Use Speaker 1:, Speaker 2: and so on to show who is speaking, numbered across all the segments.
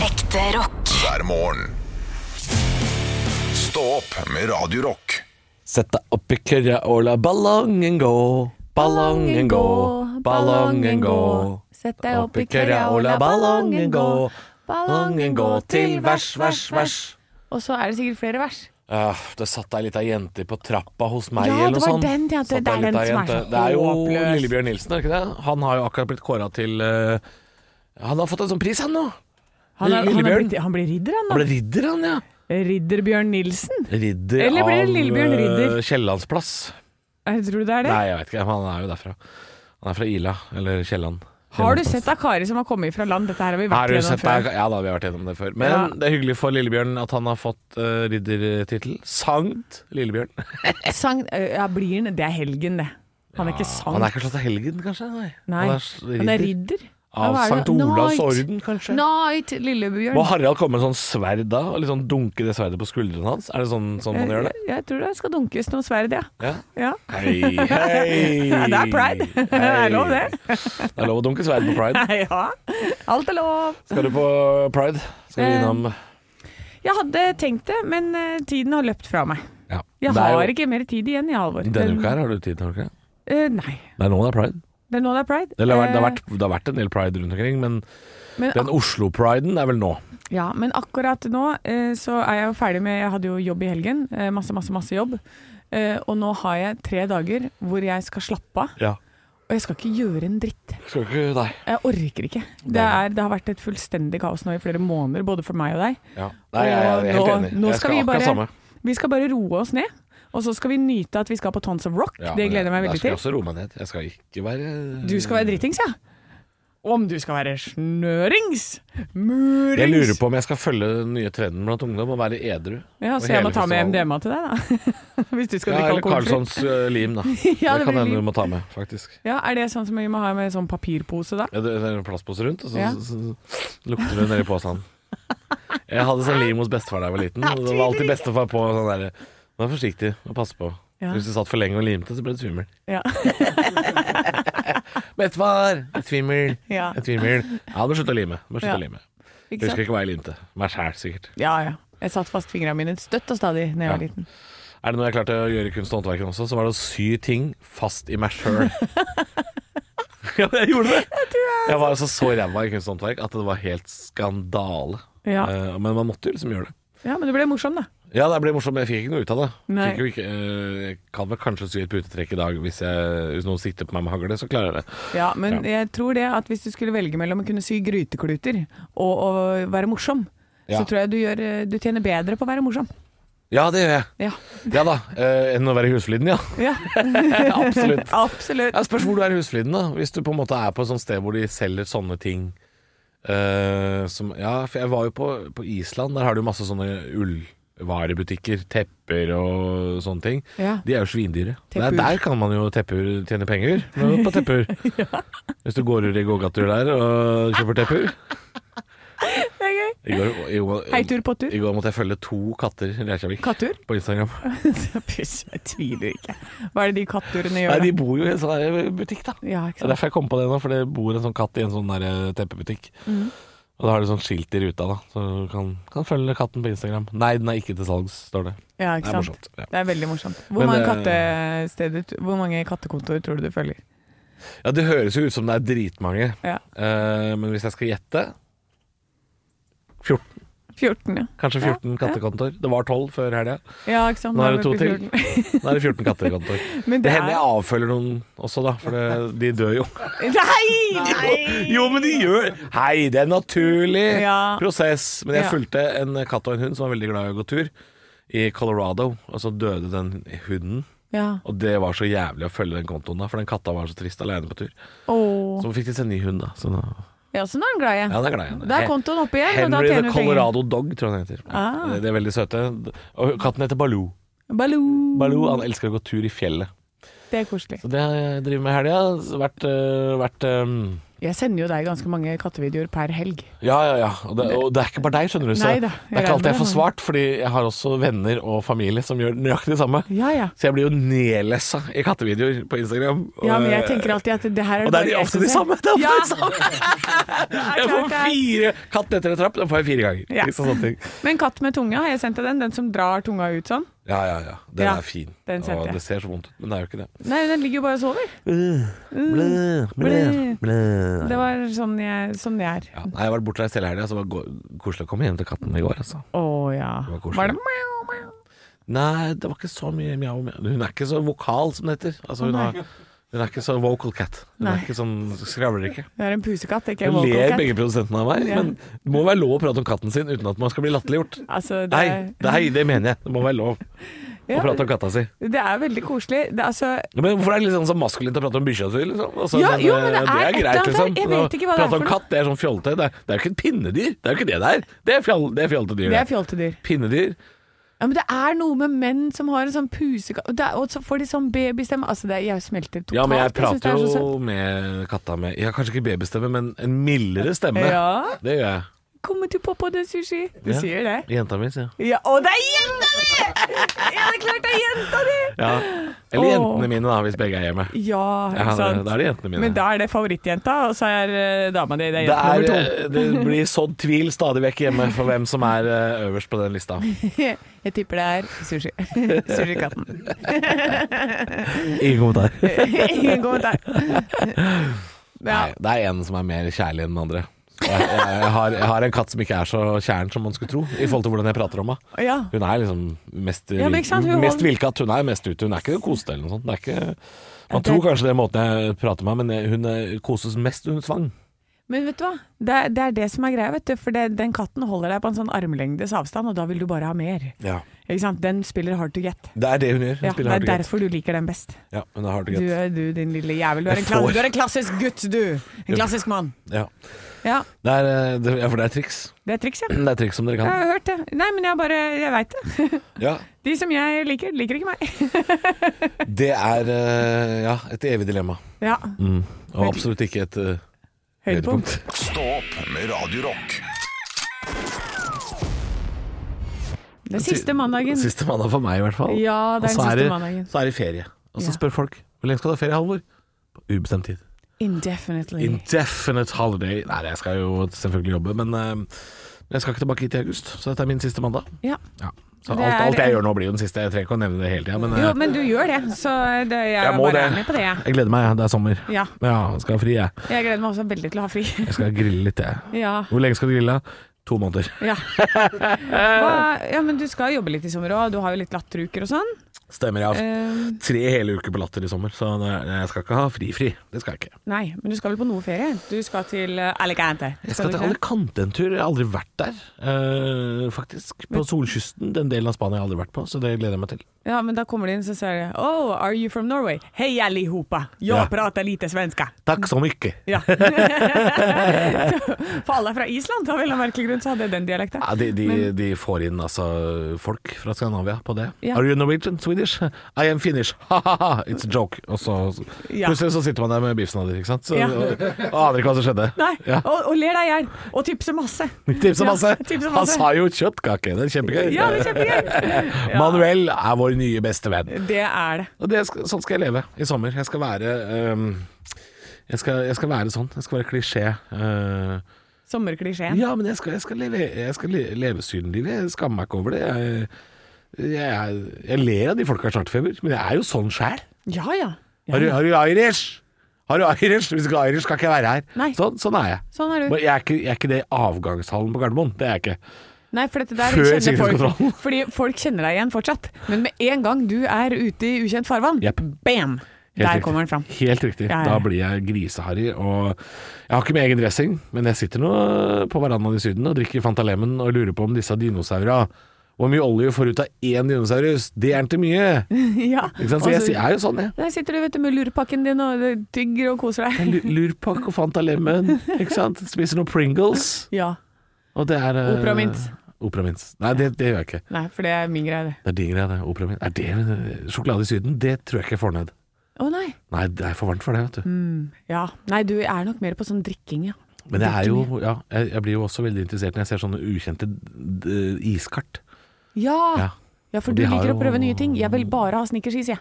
Speaker 1: Ekte rock.
Speaker 2: hver morgen. Stå opp med Radio Rock.
Speaker 3: Sett deg opp i kørja og la ballongen gå. Ballongen gå, ballongen gå.
Speaker 4: Sett deg opp i kørja og la ballongen gå.
Speaker 3: Ballongen gå til vers, vers, vers.
Speaker 4: Og så er det sikkert flere vers.
Speaker 3: Uh, det satt ei lita jente på trappa hos meg,
Speaker 4: Ja, det
Speaker 3: eller noe
Speaker 4: var
Speaker 3: sånt.
Speaker 4: den jente-
Speaker 3: Satt
Speaker 4: det er
Speaker 3: ei
Speaker 4: den
Speaker 3: lita
Speaker 4: som er
Speaker 3: jente.
Speaker 4: så
Speaker 3: Det er jo
Speaker 4: håpløs.
Speaker 3: Lillebjørn Nilsen, er det ikke det? Han har jo akkurat blitt kåra til eh, Han har fått en sånn pris, han nå.
Speaker 4: Han, er, han, er
Speaker 3: Lillebjørn.
Speaker 4: blitt, han blir ridder, han
Speaker 3: Han
Speaker 4: da.
Speaker 3: ble ridder, han, ja.
Speaker 4: Ridder Bjørn Nilsen.
Speaker 3: Ridder
Speaker 4: Eller ble det Lillebjørn
Speaker 3: eh,
Speaker 4: ridder?
Speaker 3: Kiellandsplass.
Speaker 4: Eh, Tror du det er det?
Speaker 3: Nei, jeg vet ikke. men Han er jo derfra. Han er fra Ila, eller Kielland.
Speaker 4: Har du
Speaker 3: Kiellandsplass.
Speaker 4: sett Akari som har kommet fra land? Dette her har vi
Speaker 3: Har
Speaker 4: vært
Speaker 3: du
Speaker 4: gjennom
Speaker 3: sett
Speaker 4: før.
Speaker 3: deg? Ja da, vi har vært gjennom det før. Men
Speaker 4: Ja.
Speaker 3: det er hyggelig for Lillebjørn at han har fått uh, riddertittel. Sankt Lillebjørn.
Speaker 4: Sankt, eh, ja, blir han, det er helgen, det. Han er ikke sankt.
Speaker 3: Han er ikke slått av helgen, kanskje? Nei.
Speaker 4: Nei,
Speaker 3: Han er s- ridder.
Speaker 4: han er ridder.
Speaker 3: Av
Speaker 4: Hva er det?
Speaker 3: Sankt Olavs
Speaker 4: Knight.
Speaker 3: orden, kanskje?
Speaker 4: Knight, Lillebjørn.
Speaker 3: Må Harald komme med sånn sverd da? Og liksom dunke det sverdet på skuldrene hans? Er det sånn, sånn man gjør det?
Speaker 4: Eh, Jeg, jeg tror det skal dunkes noe sverd, ja.
Speaker 3: Ja.
Speaker 4: ja.
Speaker 3: Hei, hei!
Speaker 4: Det er pride. Det
Speaker 3: Hei.
Speaker 4: er lov, det.
Speaker 3: Det er lov å dunke sverd på pride.
Speaker 4: ja. Alt er lov.
Speaker 3: Skal du på pride? Skal du
Speaker 4: Eh,
Speaker 3: innom
Speaker 4: Jeg hadde tenkt det, men eh, tiden har løpt fra meg.
Speaker 3: ja.
Speaker 4: Jeg
Speaker 3: Det er jo-
Speaker 4: har ikke mer tid igjen i Halvor.
Speaker 3: Denne uka her har du tid til noe?
Speaker 4: Eh, nei.
Speaker 3: Det er nå det er pride.
Speaker 4: Det er nå det er pride.
Speaker 3: Eller det har vært, det har
Speaker 4: Eh,
Speaker 3: vært, det har vært en del pride rundt omkring, men
Speaker 4: men,
Speaker 3: Den
Speaker 4: ak
Speaker 3: Oslo-priden er vel nå.
Speaker 4: ja, men akkurat nå eh, så er jeg jo ferdig med Jeg hadde jo jobb i helgen. eh, masse, masse, masse jobb. Eh, og nå har jeg tre dager hvor jeg skal slappe av.
Speaker 3: Ja.
Speaker 4: Og jeg skal ikke gjøre en dritt.
Speaker 3: Skal ikke Nei.
Speaker 4: Jeg orker ikke. Det, er, det har vært et fullstendig kaos nå i flere måneder, både for meg og deg.
Speaker 3: Nei, jeg er helt
Speaker 4: nå,
Speaker 3: enig.
Speaker 4: Nå
Speaker 3: jeg
Speaker 4: skal vi
Speaker 3: akkurat
Speaker 4: bare,
Speaker 3: samme.
Speaker 4: Vi skal bare roe oss ned, og så skal vi nyte at vi skal på Tons of Rock.
Speaker 3: Ja,
Speaker 4: det
Speaker 3: men
Speaker 4: gleder jeg meg
Speaker 3: der
Speaker 4: veldig
Speaker 3: skal Jeg
Speaker 4: til.
Speaker 3: skal også roe meg ned. Jeg skal ikke være
Speaker 4: Du skal være dritings, ja. Om du skal være snørings, murings
Speaker 3: Jeg lurer på om jeg skal følge den nye trenden blant ungdom og være edru.
Speaker 4: Ja,
Speaker 3: på
Speaker 4: Så jeg må
Speaker 3: hele
Speaker 4: ta med
Speaker 3: festivalen.
Speaker 4: MDMA til deg, da. Hvis du skal
Speaker 3: Ja,
Speaker 4: drikke
Speaker 3: eller
Speaker 4: alkoholfri.
Speaker 3: Carlsons eh, lim, da.
Speaker 4: Ja,
Speaker 3: det
Speaker 4: det
Speaker 3: kan
Speaker 4: blir
Speaker 3: hende
Speaker 4: lim.
Speaker 3: du må ta med, faktisk.
Speaker 4: Ja, Er det sånn som vi må ha med sånn papirpose, da?
Speaker 3: Ja, det det er en plastpose rundt, og så,
Speaker 4: Ja.
Speaker 3: så, så, så lukter det nedi posen. Jeg hadde sånn lim hos bestefar da jeg var liten. Og det var alltid bestefar på sånn derre Vær forsiktig og pass på.
Speaker 4: Ja.
Speaker 3: Hvis du satt for lenge og limte, så ble du svimmel.
Speaker 4: Ja.
Speaker 3: Bestefar, jeg er svimmel.
Speaker 4: Ja.
Speaker 3: Jeg er svimmel. Ja, du må slutte å lime. Du må slutte
Speaker 4: Ja.
Speaker 3: å lime. Jeg
Speaker 4: Ikke
Speaker 3: husker
Speaker 4: sant?
Speaker 3: ikke hva jeg limte. Meg sjæl, sikkert.
Speaker 4: Ja, ja. Jeg satt fast fingrene mine støtt og stadig da jeg var
Speaker 3: Ja.
Speaker 4: liten.
Speaker 3: Er det noe jeg klarte å gjøre i kunst- og håndverken også, så var det å sy ting fast i meg sjøl. ja, men jeg gjorde det! Jeg var altså så ræva i kunst og håndverk at det var helt skandale.
Speaker 4: Ja.
Speaker 3: Eh, men man måtte jo liksom gjøre det.
Speaker 4: ja, men du ble morsom, da.
Speaker 3: Ja, det ble morsomt, men jeg fikk ikke noe ut av det.
Speaker 4: Nei.
Speaker 3: Fikk jo ikke, eh, jeg kan vel kanskje sy et putetrekk i dag, hvis, jeg, hvis noen sikter på meg med hagle, så klarer jeg det.
Speaker 4: Ja, men
Speaker 3: Ja.
Speaker 4: jeg tror det at hvis du skulle velge mellom å kunne sy grytekluter og å være morsom,
Speaker 3: Ja.
Speaker 4: så tror jeg du, gjør, eh, du tjener bedre på å være morsom.
Speaker 3: Ja, det gjør jeg.
Speaker 4: Ja.
Speaker 3: Ja da. eh, enn å være husfliden, ja.
Speaker 4: ja.
Speaker 3: Absolutt.
Speaker 4: Absolutt.
Speaker 3: Jeg spørs hvor du er i husfliden da Hvis du på en måte er på et sånt sted hvor de selger sånne ting eh, som, Ja, for jeg var jo på, på Island Der har du masse sånne ullvarebutikker Tepper og sånne ting
Speaker 4: Ja.
Speaker 3: De er jo svindyre der,
Speaker 4: Teppur.
Speaker 3: der kan man jo tepper tjene penger men På tepper Hvis du går i gågatur der og kjøper tepper
Speaker 4: Det er gøy.
Speaker 3: I går, i, går-
Speaker 4: Heitur, pottur.
Speaker 3: i går måtte jeg følge to katter i Reykjavik
Speaker 4: Kattur?
Speaker 3: På Instagram
Speaker 4: Puss, jeg tviler ikke. Hva er det de katturene
Speaker 3: Nei,
Speaker 4: gjør?
Speaker 3: de
Speaker 4: da?
Speaker 3: bor jo i en sånn her butikk da
Speaker 4: Ja,
Speaker 3: Det
Speaker 4: ikke
Speaker 3: er
Speaker 4: sant?
Speaker 3: derfor jeg kom på det nå, for det bor en sånn katt i en sånn der eh, teppebutikk.
Speaker 4: Mm.
Speaker 3: Og da har de sånn skilt i ruta, da. Så du kan, kan følge katten på Instagram. Nei, den er ikke til salgs, står det.
Speaker 4: Ja,
Speaker 3: Det
Speaker 4: ikke
Speaker 3: er
Speaker 4: sant?
Speaker 3: morsomt. Ja,
Speaker 4: Det er veldig morsomt. Hvor
Speaker 3: Men,
Speaker 4: mange,
Speaker 3: eh,
Speaker 4: kattesteder, hvor mange kattekontor tror du du følger?
Speaker 3: ja det høres jo ut som det er dritmange.
Speaker 4: Ja.
Speaker 3: Eh, men hvis jeg skal gjette 14.
Speaker 4: 14, ja.
Speaker 3: Kanskje 14 kattekontor. Det var 12 før helga.
Speaker 4: ja ikke sant?
Speaker 3: Nå er det
Speaker 4: vi
Speaker 3: to
Speaker 4: på
Speaker 3: til. Nå
Speaker 4: 14.
Speaker 3: er det 14 kattekontor. Det
Speaker 4: Men det
Speaker 3: hender
Speaker 4: er
Speaker 3: jeg avfølger noen også, da. For det, de dør jo.
Speaker 4: Nei!
Speaker 3: Jo, men de gjør Hei, det er en naturlig
Speaker 4: Ja.
Speaker 3: prosess. Men jeg
Speaker 4: Ja.
Speaker 3: fulgte en katt og en hund som var veldig glad i å gå tur, i Colorado. Og så døde den hunden.
Speaker 4: Ja.
Speaker 3: Og det var så jævlig å følge den kontoen, da for den katta var så trist alene på tur.
Speaker 4: Åh.
Speaker 3: Så fikk de seg en ny hund, da. Så nå,
Speaker 4: Ja, så nå er han glad igjen.
Speaker 3: ja, det er glad i henne.
Speaker 4: Da er kontoen oppe igjen, og da
Speaker 3: Henry
Speaker 4: tjener
Speaker 3: the
Speaker 4: du penger.
Speaker 3: Colorado Dog, tror jeg han heter.
Speaker 4: Ah.
Speaker 3: Det- Det er veldig søte. Og katten heter Baloo.
Speaker 4: Baloo.
Speaker 3: Baloo han elsker å gå tur i fjellet.
Speaker 4: Det er koselig.
Speaker 3: Så det har jeg drevet med i helga. eh, Vært, øh, vært øh,
Speaker 4: Jeg sender jo deg ganske mange kattevideoer per helg.
Speaker 3: Ja, ja, ja. Og det, og det er ikke bare deg, skjønner du. Så
Speaker 4: Nei da,
Speaker 3: det er ikke
Speaker 4: jeg regner
Speaker 3: alltid jeg får
Speaker 4: med det.
Speaker 3: svart, fordi jeg har også venner og familie som gjør nøyaktig det samme.
Speaker 4: Ja, ja.
Speaker 3: Så jeg blir jo nedlessa i kattevideoer på Instagram.
Speaker 4: Ja, men jeg tenker alltid at det her er
Speaker 3: og det er
Speaker 4: bare
Speaker 3: de
Speaker 4: jeg
Speaker 3: ofte
Speaker 4: som
Speaker 3: de
Speaker 4: ser.
Speaker 3: samme! Det er ofte
Speaker 4: Ja,
Speaker 3: de samme.
Speaker 4: det er
Speaker 3: Jeg
Speaker 4: klart
Speaker 3: får
Speaker 4: det er.
Speaker 3: fire katt etter en trapp, da får jeg fire ganger.
Speaker 4: Ja.
Speaker 3: Liksom sånne ting.
Speaker 4: Men katt med tunge, har jeg sendt deg den? Den som drar tunga ut sånn?
Speaker 3: Ja, ja, ja. Den
Speaker 4: Ja,
Speaker 3: er fin.
Speaker 4: den
Speaker 3: og
Speaker 4: sendte jeg. Mm.
Speaker 3: det ser så vondt ut, men det er jo ikke det.
Speaker 4: Nei, den ligger jo bare og sover. blæ, Det var sånn jeg, sånn jeg er.
Speaker 3: Ja, nei, jeg var borte der hele helga, så det var go- koselig å komme hjem til katten i går. Altså.
Speaker 4: Å ja.
Speaker 3: Det var koselig.
Speaker 4: Var det mjau, mjau?
Speaker 3: Nei, det var ikke så mye mjau. mjau. Hun er ikke så vokal, som det heter. Altså, hun,
Speaker 4: Å,
Speaker 3: har, hun er ikke så vocal cat. Hun
Speaker 4: Nei.
Speaker 3: er ikke sånn skravler ikke.
Speaker 4: Det er en pusekatt, ikke en
Speaker 3: Hun ler
Speaker 4: vokalkatt.
Speaker 3: begge produsentene av meg,
Speaker 4: Ja.
Speaker 3: men det må være lov å prate om katten sin uten at man skal bli latterliggjort.
Speaker 4: Altså, det,
Speaker 3: Nei,
Speaker 4: er-
Speaker 3: nei, det mener jeg. Det må være lov å
Speaker 4: Ja.
Speaker 3: prate om katta si.
Speaker 4: det er veldig koselig. Det, er altså,
Speaker 3: Men hvorfor er det litt sånn så maskulint å prate om bikkja si, liksom? Altså,
Speaker 4: Ja, jo, men det
Speaker 3: eh,
Speaker 4: er et eller annet der. Jeg vet
Speaker 3: Å
Speaker 4: ikke hva det er
Speaker 3: prate
Speaker 4: for
Speaker 3: om
Speaker 4: noe.
Speaker 3: katt, det er sånn fjolte. Det er, det er jo ikke et pinnedyr. Det er jo ikke det det er. Det er, fjall, det er fjoltedyr.
Speaker 4: det
Speaker 3: Det
Speaker 4: er fjoltedyr.
Speaker 3: pinnedyr.
Speaker 4: Ja, men det er noe med menn som har en sånn pusekatt Og, det er- og så får de sånn babystemme. Altså, det, er- jeg smelter totalt.
Speaker 3: Ja, men jeg
Speaker 4: synes det
Speaker 3: prater
Speaker 4: er så
Speaker 3: jo med katta med Ja, kanskje ikke babystemme, men en mildere stemme.
Speaker 4: søtt. Ja.
Speaker 3: Det gjør jeg.
Speaker 4: Kommer til pappa det sushi? Du
Speaker 3: Ja.
Speaker 4: sier det.
Speaker 3: Jenta mi, sier jeg.
Speaker 4: Ja, og det er jenta di! Ja, det er klart det er jenta di!
Speaker 3: Ja. Eller
Speaker 4: Åh.
Speaker 3: jentene mine, da, hvis begge er hjemme.
Speaker 4: Ja,
Speaker 3: Ja,
Speaker 4: ikke sant.
Speaker 3: da er det jentene mine.
Speaker 4: Men da er det favorittjenta, og så er eh, dama di det er
Speaker 3: det,
Speaker 4: jenta
Speaker 3: er,
Speaker 4: nummer
Speaker 3: eh, det blir sådd tvil stadig vekk hjemme for hvem som er eh, øverst på den lista.
Speaker 4: to. Jeg tipper det er sushi. Sushikatten.
Speaker 3: Ingen kommentar.
Speaker 4: Ingen kommentar. Ja.
Speaker 3: Nei, det er en som er mer kjærlig enn den andre. Så Jeg, jeg, jeg, har, jeg har en katt som ikke er så kjæren som man skulle tro, i forhold til hvordan jeg prater om henne.
Speaker 4: ja.
Speaker 3: Hun er liksom mest,
Speaker 4: Ja, men ikke sant, hun
Speaker 3: vil- mest
Speaker 4: holder-
Speaker 3: villkatt. Hun er mest ute. Hun er ikke kosete eller noe sånt. Det er ikke, man
Speaker 4: det-
Speaker 3: tror kanskje det er måten jeg prater med henne, men hun eh, koses mest under tvang.
Speaker 4: Men vet du hva? Det er det, er det som er greia, vet du. For det, den katten holder deg på en sånn armlengdes avstand, og da vil du bare ha mer. Ikke sant? Den spiller hard to get.
Speaker 3: Det er det hun gjør. Hun
Speaker 4: Ja, det
Speaker 3: spiller
Speaker 4: er
Speaker 3: hard to get.
Speaker 4: derfor du liker den best.
Speaker 3: Ja, hun er hard to
Speaker 4: Du,
Speaker 3: get.
Speaker 4: er- du din lille jævel. Du er,
Speaker 3: Jeg
Speaker 4: en kla-
Speaker 3: får-
Speaker 4: du er en klassisk gutt, du. En klassisk mann.
Speaker 3: Ja.
Speaker 4: Ja,
Speaker 3: Det er, eh, det, ja, for det er triks.
Speaker 4: det er triks, ja.
Speaker 3: Det er triks som dere
Speaker 4: Jeg
Speaker 3: kan.
Speaker 4: har hørt det. Nei, men jeg bare Jeg veit det.
Speaker 3: Ja,
Speaker 4: De som jeg liker, liker ikke meg.
Speaker 3: Det er eh, ja, et evig dilemma.
Speaker 4: Ja.
Speaker 3: Mm. Og absolutt ikke et eh,
Speaker 4: Høydepunkt.
Speaker 3: høydepunkt.
Speaker 2: Stå opp med Radio Rock.
Speaker 4: Den siste mandagen.
Speaker 3: Siste mandag for meg, i hvert fall.
Speaker 4: Ja, det er
Speaker 3: Og så
Speaker 4: den siste
Speaker 3: det-
Speaker 4: mandagen.
Speaker 3: Så er det ferie. Og så
Speaker 4: Ja.
Speaker 3: spør folk hvor lenge skal du ha ferie, Halvor? På ubestemt tid.
Speaker 4: Indefinitely.
Speaker 3: Indefinite holiday. Nei, jeg skal jo selvfølgelig jobbe, men eh, men jeg skal ikke tilbake hit i august, så dette er min siste mandag.
Speaker 4: ja.
Speaker 3: Ja. Så
Speaker 4: Det
Speaker 3: alt,
Speaker 4: er-
Speaker 3: alt jeg gjør nå, blir jo den siste. Jeg trenger ikke å nevne det hele tida, men eh,
Speaker 4: Jo, men du gjør det, så eh, det, jeg,
Speaker 3: jeg
Speaker 4: er
Speaker 3: må
Speaker 4: bare
Speaker 3: det.
Speaker 4: er med på det, jeg.
Speaker 3: Jeg gleder meg, ja. det er sommer.
Speaker 4: Ja.
Speaker 3: Ja, jeg skal ha fri, jeg.
Speaker 4: Jeg gleder meg også veldig til å ha fri.
Speaker 3: Jeg skal grille litt, jeg.
Speaker 4: Ja.
Speaker 3: Hvor lenge skal du grille? To måneder.
Speaker 4: Ja. Hva, ja, men du skal jobbe litt i sommer òg. Du har jo litt latteruker og sånn.
Speaker 3: Stemmer, jeg har
Speaker 4: Eh,
Speaker 3: tre hele uker på Latter i sommer, så det- jeg skal ikke ha fri-fri. Det skal jeg ikke.
Speaker 4: nei, men du skal vel på noe ferie? Du skal til eh, Alicante.
Speaker 3: Jeg skal
Speaker 4: du
Speaker 3: til
Speaker 4: ikke det?
Speaker 3: Alicante en tur. Jeg har aldri vært der, eh, faktisk. På solkysten. Den delen av Spania har jeg aldri vært på, så det gleder jeg meg til.
Speaker 4: Ja, men da kommer de inn, så sier de Oh, are you from Norway? Hei, allihopa. Jeg
Speaker 3: Ja.
Speaker 4: prater lite svenska.
Speaker 3: Takk så mye.
Speaker 4: Ja. For alle er fra Island, av en eller annen merkelig grunn, så hadde jeg den dialekten.
Speaker 3: Ja, de, de, de får inn altså folk fra Skandinavia på det.
Speaker 4: Ja.
Speaker 3: Are you Norwegian? Swedish? I am Finnish. Ha-ha-ha, it's a joke. Og så
Speaker 4: Ja.
Speaker 3: plutselig så sitter man der med beefsen av dem, ikke sant. Så,
Speaker 4: Ja.
Speaker 3: og, og aner ikke hva som skjedde.
Speaker 4: Nei,
Speaker 3: Ja.
Speaker 4: og, og ler deg i hjel. Og tipser masse.
Speaker 3: Tipsa
Speaker 4: Ja,
Speaker 3: masse.
Speaker 4: tipser
Speaker 3: Han
Speaker 4: masse.
Speaker 3: sa jo kjøttkake, det er kjempegøy. Eh,
Speaker 4: Ja, det er kjempegøy. Ja.
Speaker 3: Manuel er vår nye beste venn.
Speaker 4: Det er det.
Speaker 3: Og det skal, sånn skal jeg leve i sommer. Jeg skal være ehm, jeg, skal, jeg skal være sånn. Jeg skal være klisjé. eh.
Speaker 4: Sommerklisjeen.
Speaker 3: ja, men jeg skal, jeg skal leve, jeg skal le, leve synlig. Jeg skammer meg ikke over det. Jeg, jeg, er- jeg ler av de folka i snartfeber, men jeg er jo sånn sjæl.
Speaker 4: Ja, ja.
Speaker 3: Har, du- har du Irish? Har du Irish? Hvis ikke Irish, skal ikke jeg være
Speaker 4: Nei.
Speaker 3: her. Sånn, sånn er jeg.
Speaker 4: Sånn er du.
Speaker 3: Men jeg er, ikke, jeg er ikke det i avgangshallen på Gardermoen. Det er jeg ikke.
Speaker 4: Nei, for dette der
Speaker 3: Før
Speaker 4: kjenner folk
Speaker 3: sikkerhetskontrollen.
Speaker 4: Fordi folk kjenner deg igjen fortsatt. Men med en gang du er ute i ukjent farvann,
Speaker 3: Jepp.
Speaker 4: bam!
Speaker 3: Helt
Speaker 4: Der
Speaker 3: riktig.
Speaker 4: kommer den fram.
Speaker 3: Helt riktig.
Speaker 4: Ja, ja.
Speaker 3: Da blir jeg griseharry. Og jeg har ikke min egen dressing, men jeg sitter nå på verandaen i Syden og drikker Fanta Lemon og lurer på om disse dinosaura Hvor mye olje du får ut av én dinosaurus? Det er ikke mye!
Speaker 4: ja.
Speaker 3: Ikke sant?
Speaker 4: Og
Speaker 3: Så jeg,
Speaker 4: så-
Speaker 3: si- jeg er jo sånn, jeg.
Speaker 4: Der sitter du vet du, med lurepakken din og eh, tygger og koser deg.
Speaker 3: Lu- Lurpak og Fanta Lemon, ikke sant. Spiser noen Pringles.
Speaker 4: Ja.
Speaker 3: Og det er eh,
Speaker 4: Operamint.
Speaker 3: Operamint. Nei, det, det gjør jeg ikke.
Speaker 4: Nei, for det er min greie, det.
Speaker 3: eh, Det er din greie, det. Operamint. Er det sjokolade i Syden? Det tror jeg ikke jeg får ned.
Speaker 4: Å nei.
Speaker 3: Nei, det er for varmt for det, vet
Speaker 4: Mm.
Speaker 3: du.
Speaker 4: Ja. Nei, du er nok mer på sånn drikking, ja.
Speaker 3: Men jeg er jo Ja, jeg, jeg blir jo også veldig interessert når jeg ser sånne ukjente d- d- iskart.
Speaker 4: Ja,
Speaker 3: Ja,
Speaker 4: ja for
Speaker 3: Og
Speaker 4: du
Speaker 3: de har
Speaker 4: liker å
Speaker 3: jo-
Speaker 4: prøve nye ting. Jeg vil bare ha snickersis, jeg.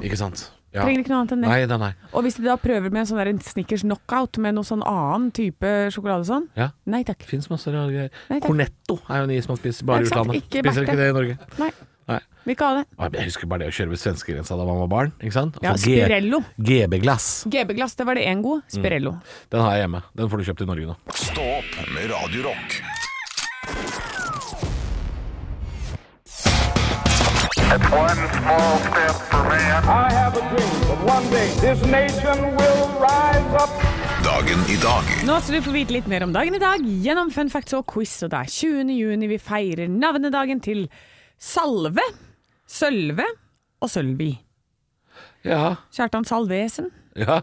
Speaker 3: ikke sant? Ja.
Speaker 4: Trenger ikke noe annet enn det.
Speaker 3: Nei, nei, nei.
Speaker 4: Og hvis de da prøver med en sånn der snickers knockout med noe sånn annen type sjokolade og sånn,
Speaker 3: Ja.
Speaker 4: nei takk.
Speaker 3: Fins masse rare greier.
Speaker 4: Nei, takk.
Speaker 3: Cornetto er jo en is man spiser bare i
Speaker 4: Ikke sant,
Speaker 3: utlandet.
Speaker 4: ikke
Speaker 3: spiser
Speaker 4: verdt
Speaker 3: ikke det i Norge.
Speaker 4: Nei.
Speaker 3: Nei.
Speaker 4: Vil ikke ha det.
Speaker 3: Og Jeg husker bare det å kjøre ved svenskegrensa da man var barn. Ikke sant?
Speaker 4: Ja,
Speaker 3: Og få G-
Speaker 4: Spirello.
Speaker 3: GB-glass.
Speaker 4: GB-glass, det var det én
Speaker 3: Mm.
Speaker 4: god. Spirello.
Speaker 3: Den har jeg hjemme. Den får du kjøpt i Norge nå.
Speaker 2: Stå opp med Radio Rock.
Speaker 1: It's one small step for man.
Speaker 5: I have a dream that one day this nation will rise up.
Speaker 2: Dagen i dag
Speaker 4: Nå skal du få vite litt mer om dagen i dag gjennom Fun facts og quiz. Og det er 20. juni vi feirer navnedagen til Salve, Sølve og Sølvi.
Speaker 3: Ja.
Speaker 4: Kjartan Salvesen.
Speaker 3: ja.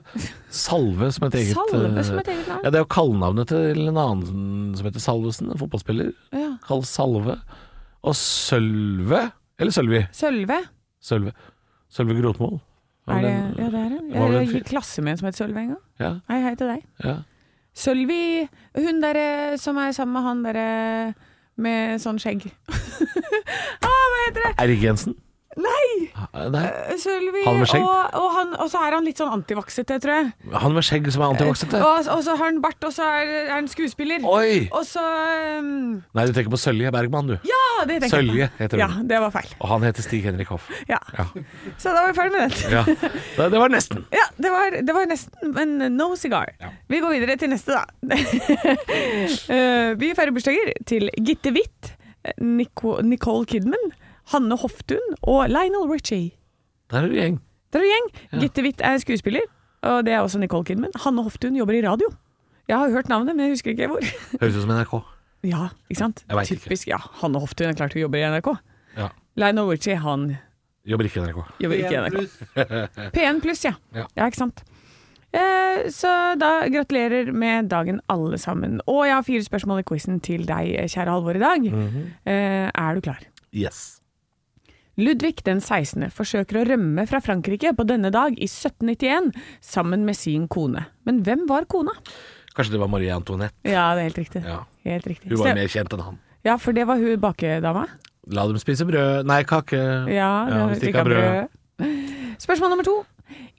Speaker 3: Salve som et eget
Speaker 4: Salve som
Speaker 3: eh,
Speaker 4: et eget navn.
Speaker 3: Ja, det er jo kallenavnet til en annen som heter Salvesen, en fotballspiller.
Speaker 4: Ja.
Speaker 3: Kalles Salve. Og Sølve Eller Sølvi.
Speaker 4: Sølve.
Speaker 3: Sølve. Sølve Grotmol.
Speaker 4: Er det, ja, det er hun.
Speaker 3: var vel en
Speaker 4: Jeg
Speaker 3: fyr-
Speaker 4: gikk klasse med en som het Sølve en gang.
Speaker 3: Ja,
Speaker 4: Hei, hei til deg.
Speaker 3: ja.
Speaker 4: Sølvi, hun derre som er sammen med han derre med sånn skjegg. ah, hva heter det?
Speaker 3: Erik Jensen?
Speaker 4: Nei!
Speaker 3: Nei.
Speaker 4: Sølvi
Speaker 3: Han med skjegg?
Speaker 4: Og, og, han, og så er han litt sånn antivaksete, tror jeg.
Speaker 3: Han med skjegg som er antivaksete?
Speaker 4: Og, og så har han bart, og så er, er han skuespiller.
Speaker 3: Oi!
Speaker 4: Og så um,
Speaker 3: Nei, du tenker på Sølje Bergman, du.
Speaker 4: Ja, det tenker
Speaker 3: Sølje
Speaker 4: jeg. på.
Speaker 3: heter hun.
Speaker 4: Ja, det var feil.
Speaker 3: Og han heter Stig Henrik Hoff.
Speaker 4: Ja.
Speaker 3: Ja.
Speaker 4: Så da var vi ferdig med den.
Speaker 3: ja. Det, det var nesten.
Speaker 4: Ja, det var, det var nesten, men no cigar. Vi går videre til neste, da. Eh, vi feirer bursdager til Gitte Witt, Nico, Nicole Kidman, Hanne Hoftun og Lionel Richie.
Speaker 3: Der er du gjeng.
Speaker 4: Det er en gjeng. Gitte Witt er skuespiller, og det er også Nicole Kidman. Hanne Hoftun jobber i radio. Jeg har hørt navnet, men jeg husker ikke hvor.
Speaker 3: Høres ut som NRK.
Speaker 4: Ja, ikke sant?
Speaker 3: Jeg vet ikke.
Speaker 4: Typisk. Ja, Hanne Hoftun er klart hun jobber i NRK.
Speaker 3: Ja.
Speaker 4: Lionel Richie, han
Speaker 3: Jobber ikke i NRK.
Speaker 4: jobber ikke i NRK. P1 pluss, ja.
Speaker 3: Ja.
Speaker 4: ja. ikke sant. Eh, så da gratulerer med dagen, alle sammen. Og jeg har fire spørsmål i quizen til deg, kjære Halvor, i dag.
Speaker 3: Mhm.
Speaker 4: eh, er du klar?
Speaker 3: Yes.
Speaker 4: Ludvig den 16. forsøker å rømme fra Frankrike på denne dag i 1791 sammen med sin kone. Men hvem var kona?
Speaker 3: Kanskje det var Marie Antoinette.
Speaker 4: Ja, det er helt riktig.
Speaker 3: Ja.
Speaker 4: Helt riktig.
Speaker 3: Hun var
Speaker 4: Så-
Speaker 3: mer kjent enn han.
Speaker 4: Ja, for det var hun bakedama.
Speaker 3: La dem spise brød Nei, kake.
Speaker 4: Ja,
Speaker 3: hvis
Speaker 4: det er
Speaker 3: de ikke har brød.
Speaker 4: Spørsmål nummer to.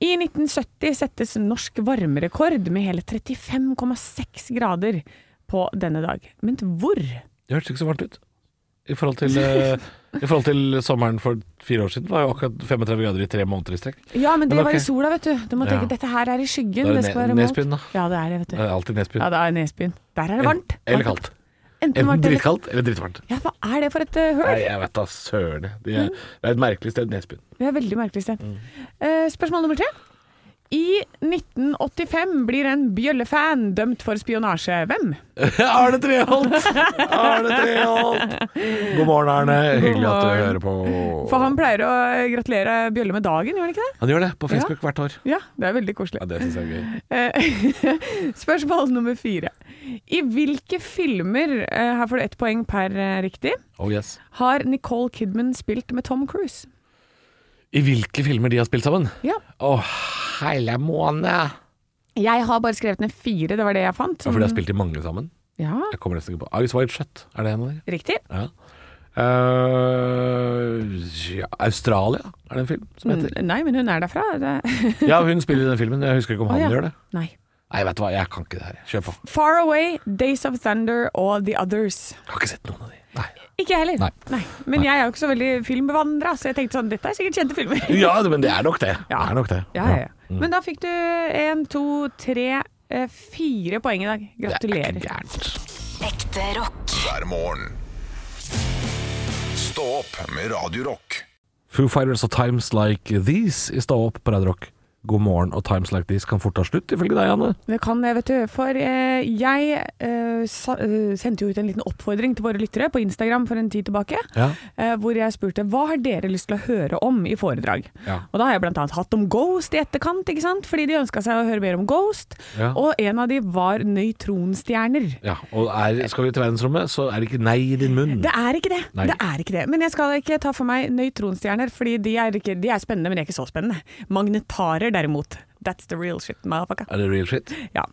Speaker 4: I 1970 settes norsk varmerekord med hele 35,6 grader på denne dag. Men hvor?
Speaker 3: Det hørtes ikke så varmt ut. I forhold, til, eh, I forhold til sommeren for fire år siden var jo akkurat 35 grader i tre måneder i strekk.
Speaker 4: Ja, men det
Speaker 3: Men ok.
Speaker 4: var i sola, vet du. Du må tenke
Speaker 3: Ja.
Speaker 4: dette her er i skyggen.
Speaker 3: Da er det
Speaker 4: Det skal
Speaker 3: ne-
Speaker 4: være målt.
Speaker 3: Nesbyen, da.
Speaker 4: Ja, det er det, vet
Speaker 3: Det
Speaker 4: du.
Speaker 3: er alltid Nesbyen.
Speaker 4: Ja, det er Nesbyen. Der er det varmt.
Speaker 3: Eller
Speaker 4: Varmt.
Speaker 3: kaldt.
Speaker 4: Enten
Speaker 3: Enten
Speaker 4: varmt eller
Speaker 3: drittkaldt eller drittvarmt.
Speaker 4: Ja, hva er det for et eh, høl?
Speaker 3: Nei, jeg vet da søren. jeg.
Speaker 4: Mm.
Speaker 3: Det er, det er et merkelig sted, Nesbyen.
Speaker 4: Det er veldig merkelig sted.
Speaker 3: Mm.
Speaker 4: Eh, spørsmål nummer tre. I 1985 blir en bjøllefan dømt for spionasje. Hvem?
Speaker 3: Arne Treholt! Arne Treholt! God morgen, Arne. Hyggelig at du
Speaker 4: morgen.
Speaker 3: hører på.
Speaker 4: For han pleier å gratulere Bjølle med dagen, gjør han ikke det?
Speaker 3: Han gjør det på Facebook hvert år.
Speaker 4: Ja, det er veldig koselig.
Speaker 3: Ja, Det syns jeg er gøy.
Speaker 4: Eh, Spørsmål nummer fire. I hvilke filmer, eh, her får du ett poeng per eh, riktig,
Speaker 3: Oh yes.
Speaker 4: har Nicole Kidman spilt med Tom Cruise?
Speaker 3: I hvilke filmer de har spilt sammen?
Speaker 4: Ja.
Speaker 3: Å, heile måne!
Speaker 4: Jeg har bare skrevet ned fire, det var det jeg fant.
Speaker 3: Ja, for de har spilt i mange sammen.
Speaker 4: Ja,
Speaker 3: Jeg kommer nesten ikke på Ice White Shut, er det en av de?
Speaker 4: riktig.
Speaker 3: Ja. Eh, ja. Australia er det en film som heter.
Speaker 4: N- Nei, men hun er derfra. Det...
Speaker 3: Ja, hun spiller i den filmen. Jeg husker ikke om han
Speaker 4: Å, ja.
Speaker 3: gjør det.
Speaker 4: Nei.
Speaker 3: Nei, vet du hva, jeg kan ikke det her. Kjør på.
Speaker 4: Far Away, Days of Thunder og The Others.
Speaker 3: Jeg har ikke sett noen av de. Nei.
Speaker 4: Ikke jeg heller.
Speaker 3: Nei.
Speaker 4: Men jeg er jo ikke så veldig filmbevandra, så jeg tenkte sånn, dette er sikkert kjente filmer.
Speaker 3: Ja, men det er nok det. Det
Speaker 4: Ja.
Speaker 3: er nok det. Mm.
Speaker 4: Ja, ja, ja. Men da fikk du én, to, tre, eh, fire poeng i dag. Gratulerer.
Speaker 3: Gærent.
Speaker 6: Ekte rock.
Speaker 2: hver morgen. Stå opp med Radio Rock.
Speaker 3: Foo Fighters og Times Like These i Stå opp på Radio Rock. God morgen og Times Like These kan fort ta slutt, ifølge deg, Anne.
Speaker 4: Det kan jeg, vet du. For eh, jeg eh, sa, eh, sendte jo ut en liten oppfordring til våre lyttere på Instagram for en tid tilbake.
Speaker 3: Ja.
Speaker 4: eh, hvor jeg spurte hva har dere lyst til å høre om i foredrag.
Speaker 3: Ja.
Speaker 4: Og da har jeg bl.a. hatt om Ghost i etterkant, ikke sant? fordi de ønska seg å høre mer om Ghost.
Speaker 3: Ja.
Speaker 4: Og en av de var nøytronstjerner.
Speaker 3: Ja, og er, skal vi til verdensrommet, så er det ikke nei i din munn.
Speaker 4: Det er ikke det.
Speaker 3: Mm. Nei.
Speaker 4: det er ikke det. Men jeg skal ikke ta for meg nøytronstjerner, fordi de er, ikke, de er spennende, men de er ikke så spennende. Magnetarer, Wire, derimot. That's the real shit, motherfucker.
Speaker 3: Er det real shit?
Speaker 4: Ja.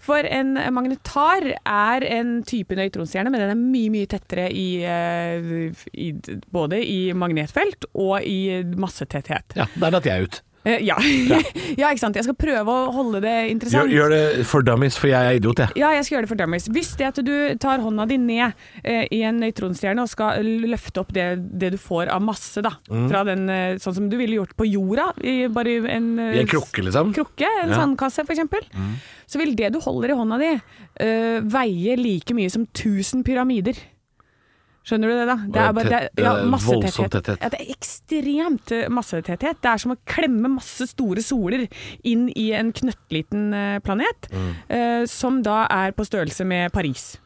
Speaker 4: For en magnetar er en type nøytronstjerne, men den er mye, mye tettere i, eh, i både i magnetfelt og i massetetthet.
Speaker 3: Ja, der datt jeg ut.
Speaker 4: Eh, ja. ja, ikke sant. Jeg skal prøve å holde det interessant.
Speaker 3: Gjør, gjør det for dummies, for jeg er idiot, jeg.
Speaker 4: Ja, jeg skal gjøre det for dummies. Hvis det at du tar hånda di ned eh, i en nøytronstjerne og skal l- løfte opp det, det du får av masse, da,
Speaker 3: Mm.
Speaker 4: fra den, eh, sånn som du ville gjort på jorda, i, bare i en, eh,
Speaker 3: I en krukke, liksom.
Speaker 4: krukke, en
Speaker 3: Ja. Mm.
Speaker 4: sandkasse f.eks., eksempel, så vil det du holder i hånda di, eh, veie like mye som 1000 pyramider. Skjønner du det, da?
Speaker 3: Og
Speaker 4: Det er bare det er,
Speaker 3: tett-
Speaker 4: ja,
Speaker 3: eh, voldsom
Speaker 4: massetetthet.
Speaker 3: tetthet.
Speaker 4: Ja, det er ekstremt eh, massetetthet. Det er som å klemme masse store soler inn i en knøttliten eh, planet,
Speaker 3: Mm.
Speaker 4: eh, som da er på størrelse med Paris.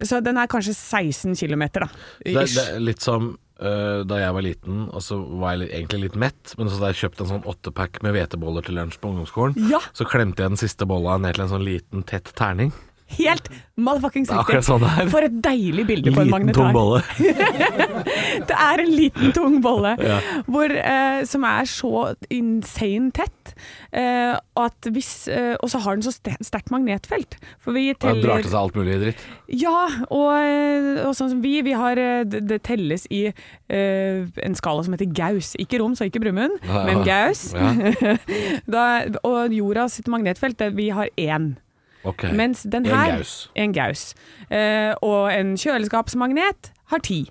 Speaker 4: Så den er kanskje 16 km, da.
Speaker 3: Det,
Speaker 4: Ish.
Speaker 3: det er litt som øh, da jeg var liten, og så var jeg litt, egentlig litt mett, men så da jeg kjøpte en sånn åttepack med hveteboller til lunsj på ungdomsskolen,
Speaker 4: Ja.
Speaker 3: så klemte jeg den siste bolla ned til en sånn liten, tett terning.
Speaker 4: Helt motherfuckings
Speaker 3: Det er
Speaker 4: riktig.
Speaker 3: akkurat sånn det er.
Speaker 4: For et deilig bilde på en
Speaker 3: Liten,
Speaker 4: magnetar.
Speaker 3: tung bolle.
Speaker 4: Det er en liten, tung bolle hvor, eh, som er så insane tett. Eh, at hvis, eh, og så har den så ste- sterkt magnetfelt. For vi
Speaker 3: Og Den drar
Speaker 4: teller
Speaker 3: til seg alt mulig dritt.
Speaker 4: Ja, og, eh, og sånn som vi, vi har eh, Det, det telles i eh, en skala som heter Gauss. Ikke Roms og ikke Brumund,
Speaker 3: Ja,
Speaker 4: men
Speaker 3: ja.
Speaker 4: Gauss.
Speaker 3: Ja,
Speaker 4: Da, og jorda sitt magnetfelt, det, vi har én.
Speaker 3: ok.
Speaker 4: Mens den
Speaker 3: En
Speaker 4: her
Speaker 3: gaus.
Speaker 4: En gaus. Eh, og en kjøleskapsmagnet har ti.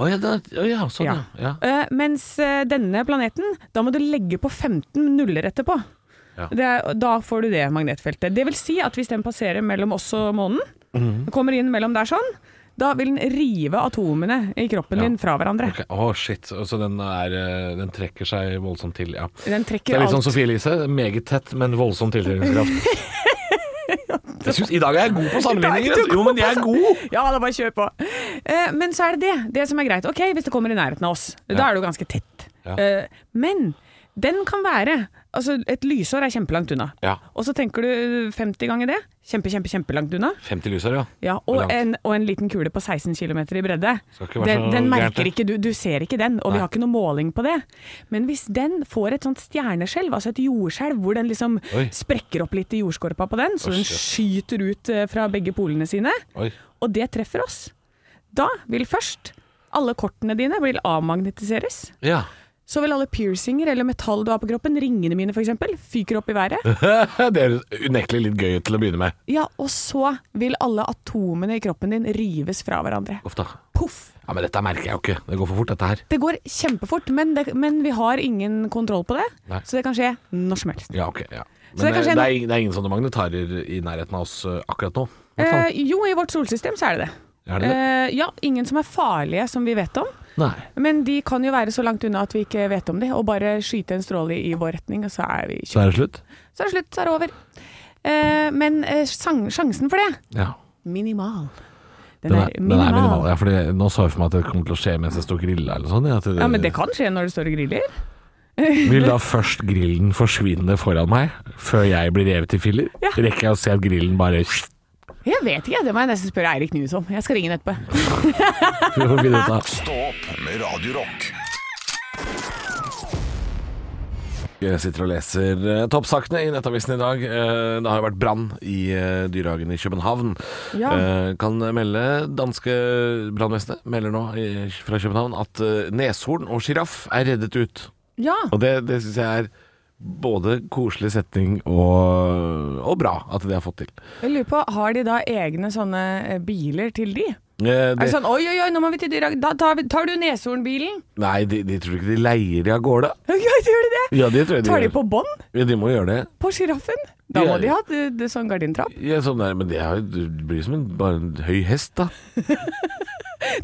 Speaker 3: Å ja, da, å ja, sånn ja. ja.
Speaker 4: Eh, mens eh, denne planeten, da må du legge på 15 nuller etterpå.
Speaker 3: Ja.
Speaker 4: Det er, da får du det magnetfeltet. Det vil si at hvis den passerer mellom oss og månen,
Speaker 3: Mhm.
Speaker 4: kommer inn mellom der sånn, da vil den rive atomene i kroppen
Speaker 3: Ja.
Speaker 4: din fra hverandre.
Speaker 3: Ok. Å, shit. Og Så den, er, øh, den trekker seg voldsomt til, ja.
Speaker 4: Den
Speaker 3: Det
Speaker 4: trekker
Speaker 3: er litt sånn
Speaker 4: alt.
Speaker 3: Sofie Elise. Meget tett, men voldsom tiltrekningskraft. Jeg synes, I dag er jeg god på sammenligninger. altså. Jo, men jeg er god!
Speaker 4: Ja, da bare kjør på. Eh, men så er det det. Det som er greit. Ok, hvis det kommer i nærheten av oss, da er det jo ganske tett.
Speaker 3: Ja.
Speaker 4: Eh, men den kan være Altså, et lysår er kjempelangt unna.
Speaker 3: Ja.
Speaker 4: Og så tenker du 50 ganger det. Kjempe, kjempe, kjempelangt unna.
Speaker 3: 50 lysår, ja.
Speaker 4: Ja,
Speaker 3: Hvor
Speaker 4: og
Speaker 3: langt?
Speaker 4: en, og en liten kule på 16 km i bredde.
Speaker 3: Skal ikke være
Speaker 4: Den,
Speaker 3: så
Speaker 4: den
Speaker 3: gærent,
Speaker 4: merker
Speaker 3: det.
Speaker 4: ikke du, du ser ikke den, og vi
Speaker 3: Nei.
Speaker 4: har ikke noe måling på det. Men hvis den får et sånt stjerneskjelv, altså et jordskjelv, hvor den liksom
Speaker 3: Oi.
Speaker 4: sprekker opp litt i jordskorpa på den, så
Speaker 3: Å,
Speaker 4: den
Speaker 3: shit.
Speaker 4: skyter ut eh, fra begge polene sine,
Speaker 3: Oi.
Speaker 4: og det treffer oss, da vil først alle kortene dine vil avmagnetiseres.
Speaker 3: Ja.
Speaker 4: Så vil alle piercinger eller metall du har på kroppen, ringene mine f.eks., fyker opp i været.
Speaker 3: det er unektelig litt gøy til å begynne med.
Speaker 4: Ja, og så vil alle atomene i kroppen din rives fra hverandre.
Speaker 3: Ofte.
Speaker 4: Poff!
Speaker 3: Ja, men dette merker jeg jo ikke. Det går for fort, dette her.
Speaker 4: Det går kjempefort, men, det, men vi har ingen kontroll på det.
Speaker 3: Nei.
Speaker 4: Så det kan skje når som helst.
Speaker 3: Ja, ok. Ja.
Speaker 4: Så
Speaker 3: Men
Speaker 4: det
Speaker 3: eh,
Speaker 4: er
Speaker 3: det
Speaker 4: kanskje
Speaker 3: er,
Speaker 4: en-
Speaker 3: ing- det er ingen sånne magnetarer i nærheten av oss eh, akkurat nå. i hvert
Speaker 4: Eh,
Speaker 3: fall.
Speaker 4: jo, i vårt solsystem så er det det.
Speaker 3: er det det?
Speaker 4: Eh, ja, ingen som er farlige som vi vet om.
Speaker 3: Nei.
Speaker 4: Men de kan jo være så langt unna at vi ikke vet om de, og bare skyte en stråle i vår retning, og så er vi
Speaker 3: Så
Speaker 4: kjørt.
Speaker 3: er det slutt?
Speaker 4: Så er det slutt, så er det over. Eh, men eh, sang, sjansen for det
Speaker 3: Ja.
Speaker 4: minimal. Den,
Speaker 3: Den
Speaker 4: er, minimal.
Speaker 3: Ja, fordi nå så jeg for meg at det kommer til å skje mens jeg står grilla eller sånn. ja, at
Speaker 4: Ja, men det kan skje når du står og griller.
Speaker 3: Vil da først grillen forsvinne foran meg, før jeg blir revet i filler?
Speaker 4: Ja.
Speaker 3: Rekker jeg å se at grillen bare
Speaker 4: Jeg vet ikke, det må jeg nesten spørre Eirik Knut om. Jeg skal ringe ham etterpå.
Speaker 3: finne ut av?
Speaker 2: Stå opp med Radio Rock.
Speaker 3: Jeg sitter og leser eh, toppsakene i Nettavisen i dag. Eh, det har jo vært brann i eh, dyrehagen i København.
Speaker 4: Ja.
Speaker 3: Eh, kan melde danske brannvesenet melder nå i, fra København at eh, neshorn og sjiraff er reddet ut.
Speaker 4: Ja.
Speaker 3: Og det, det syns jeg er både koselig setning og, og bra at de har fått til.
Speaker 4: Jeg lurer på, Har de da egne sånne eh, biler til de?
Speaker 3: Eh,
Speaker 4: Er
Speaker 3: det,
Speaker 4: det sånn oi, oi, oi, nå må vi til dyra... Da tar, vi, tar du neshornbilen?
Speaker 3: nei, de, de tror ikke de leier de av gårde.
Speaker 4: Ja, gjør de det?
Speaker 3: Ja, det tror jeg de
Speaker 4: Tar de
Speaker 3: gjør.
Speaker 4: på bånd?
Speaker 3: Ja, de må gjøre det.
Speaker 4: På sjiraffen? Da må
Speaker 3: Ja.
Speaker 4: de ha det, det sånn gardintrapp.
Speaker 3: Ja, sånn der, men det, er, jo- det blir som en, bare en høy hest, da.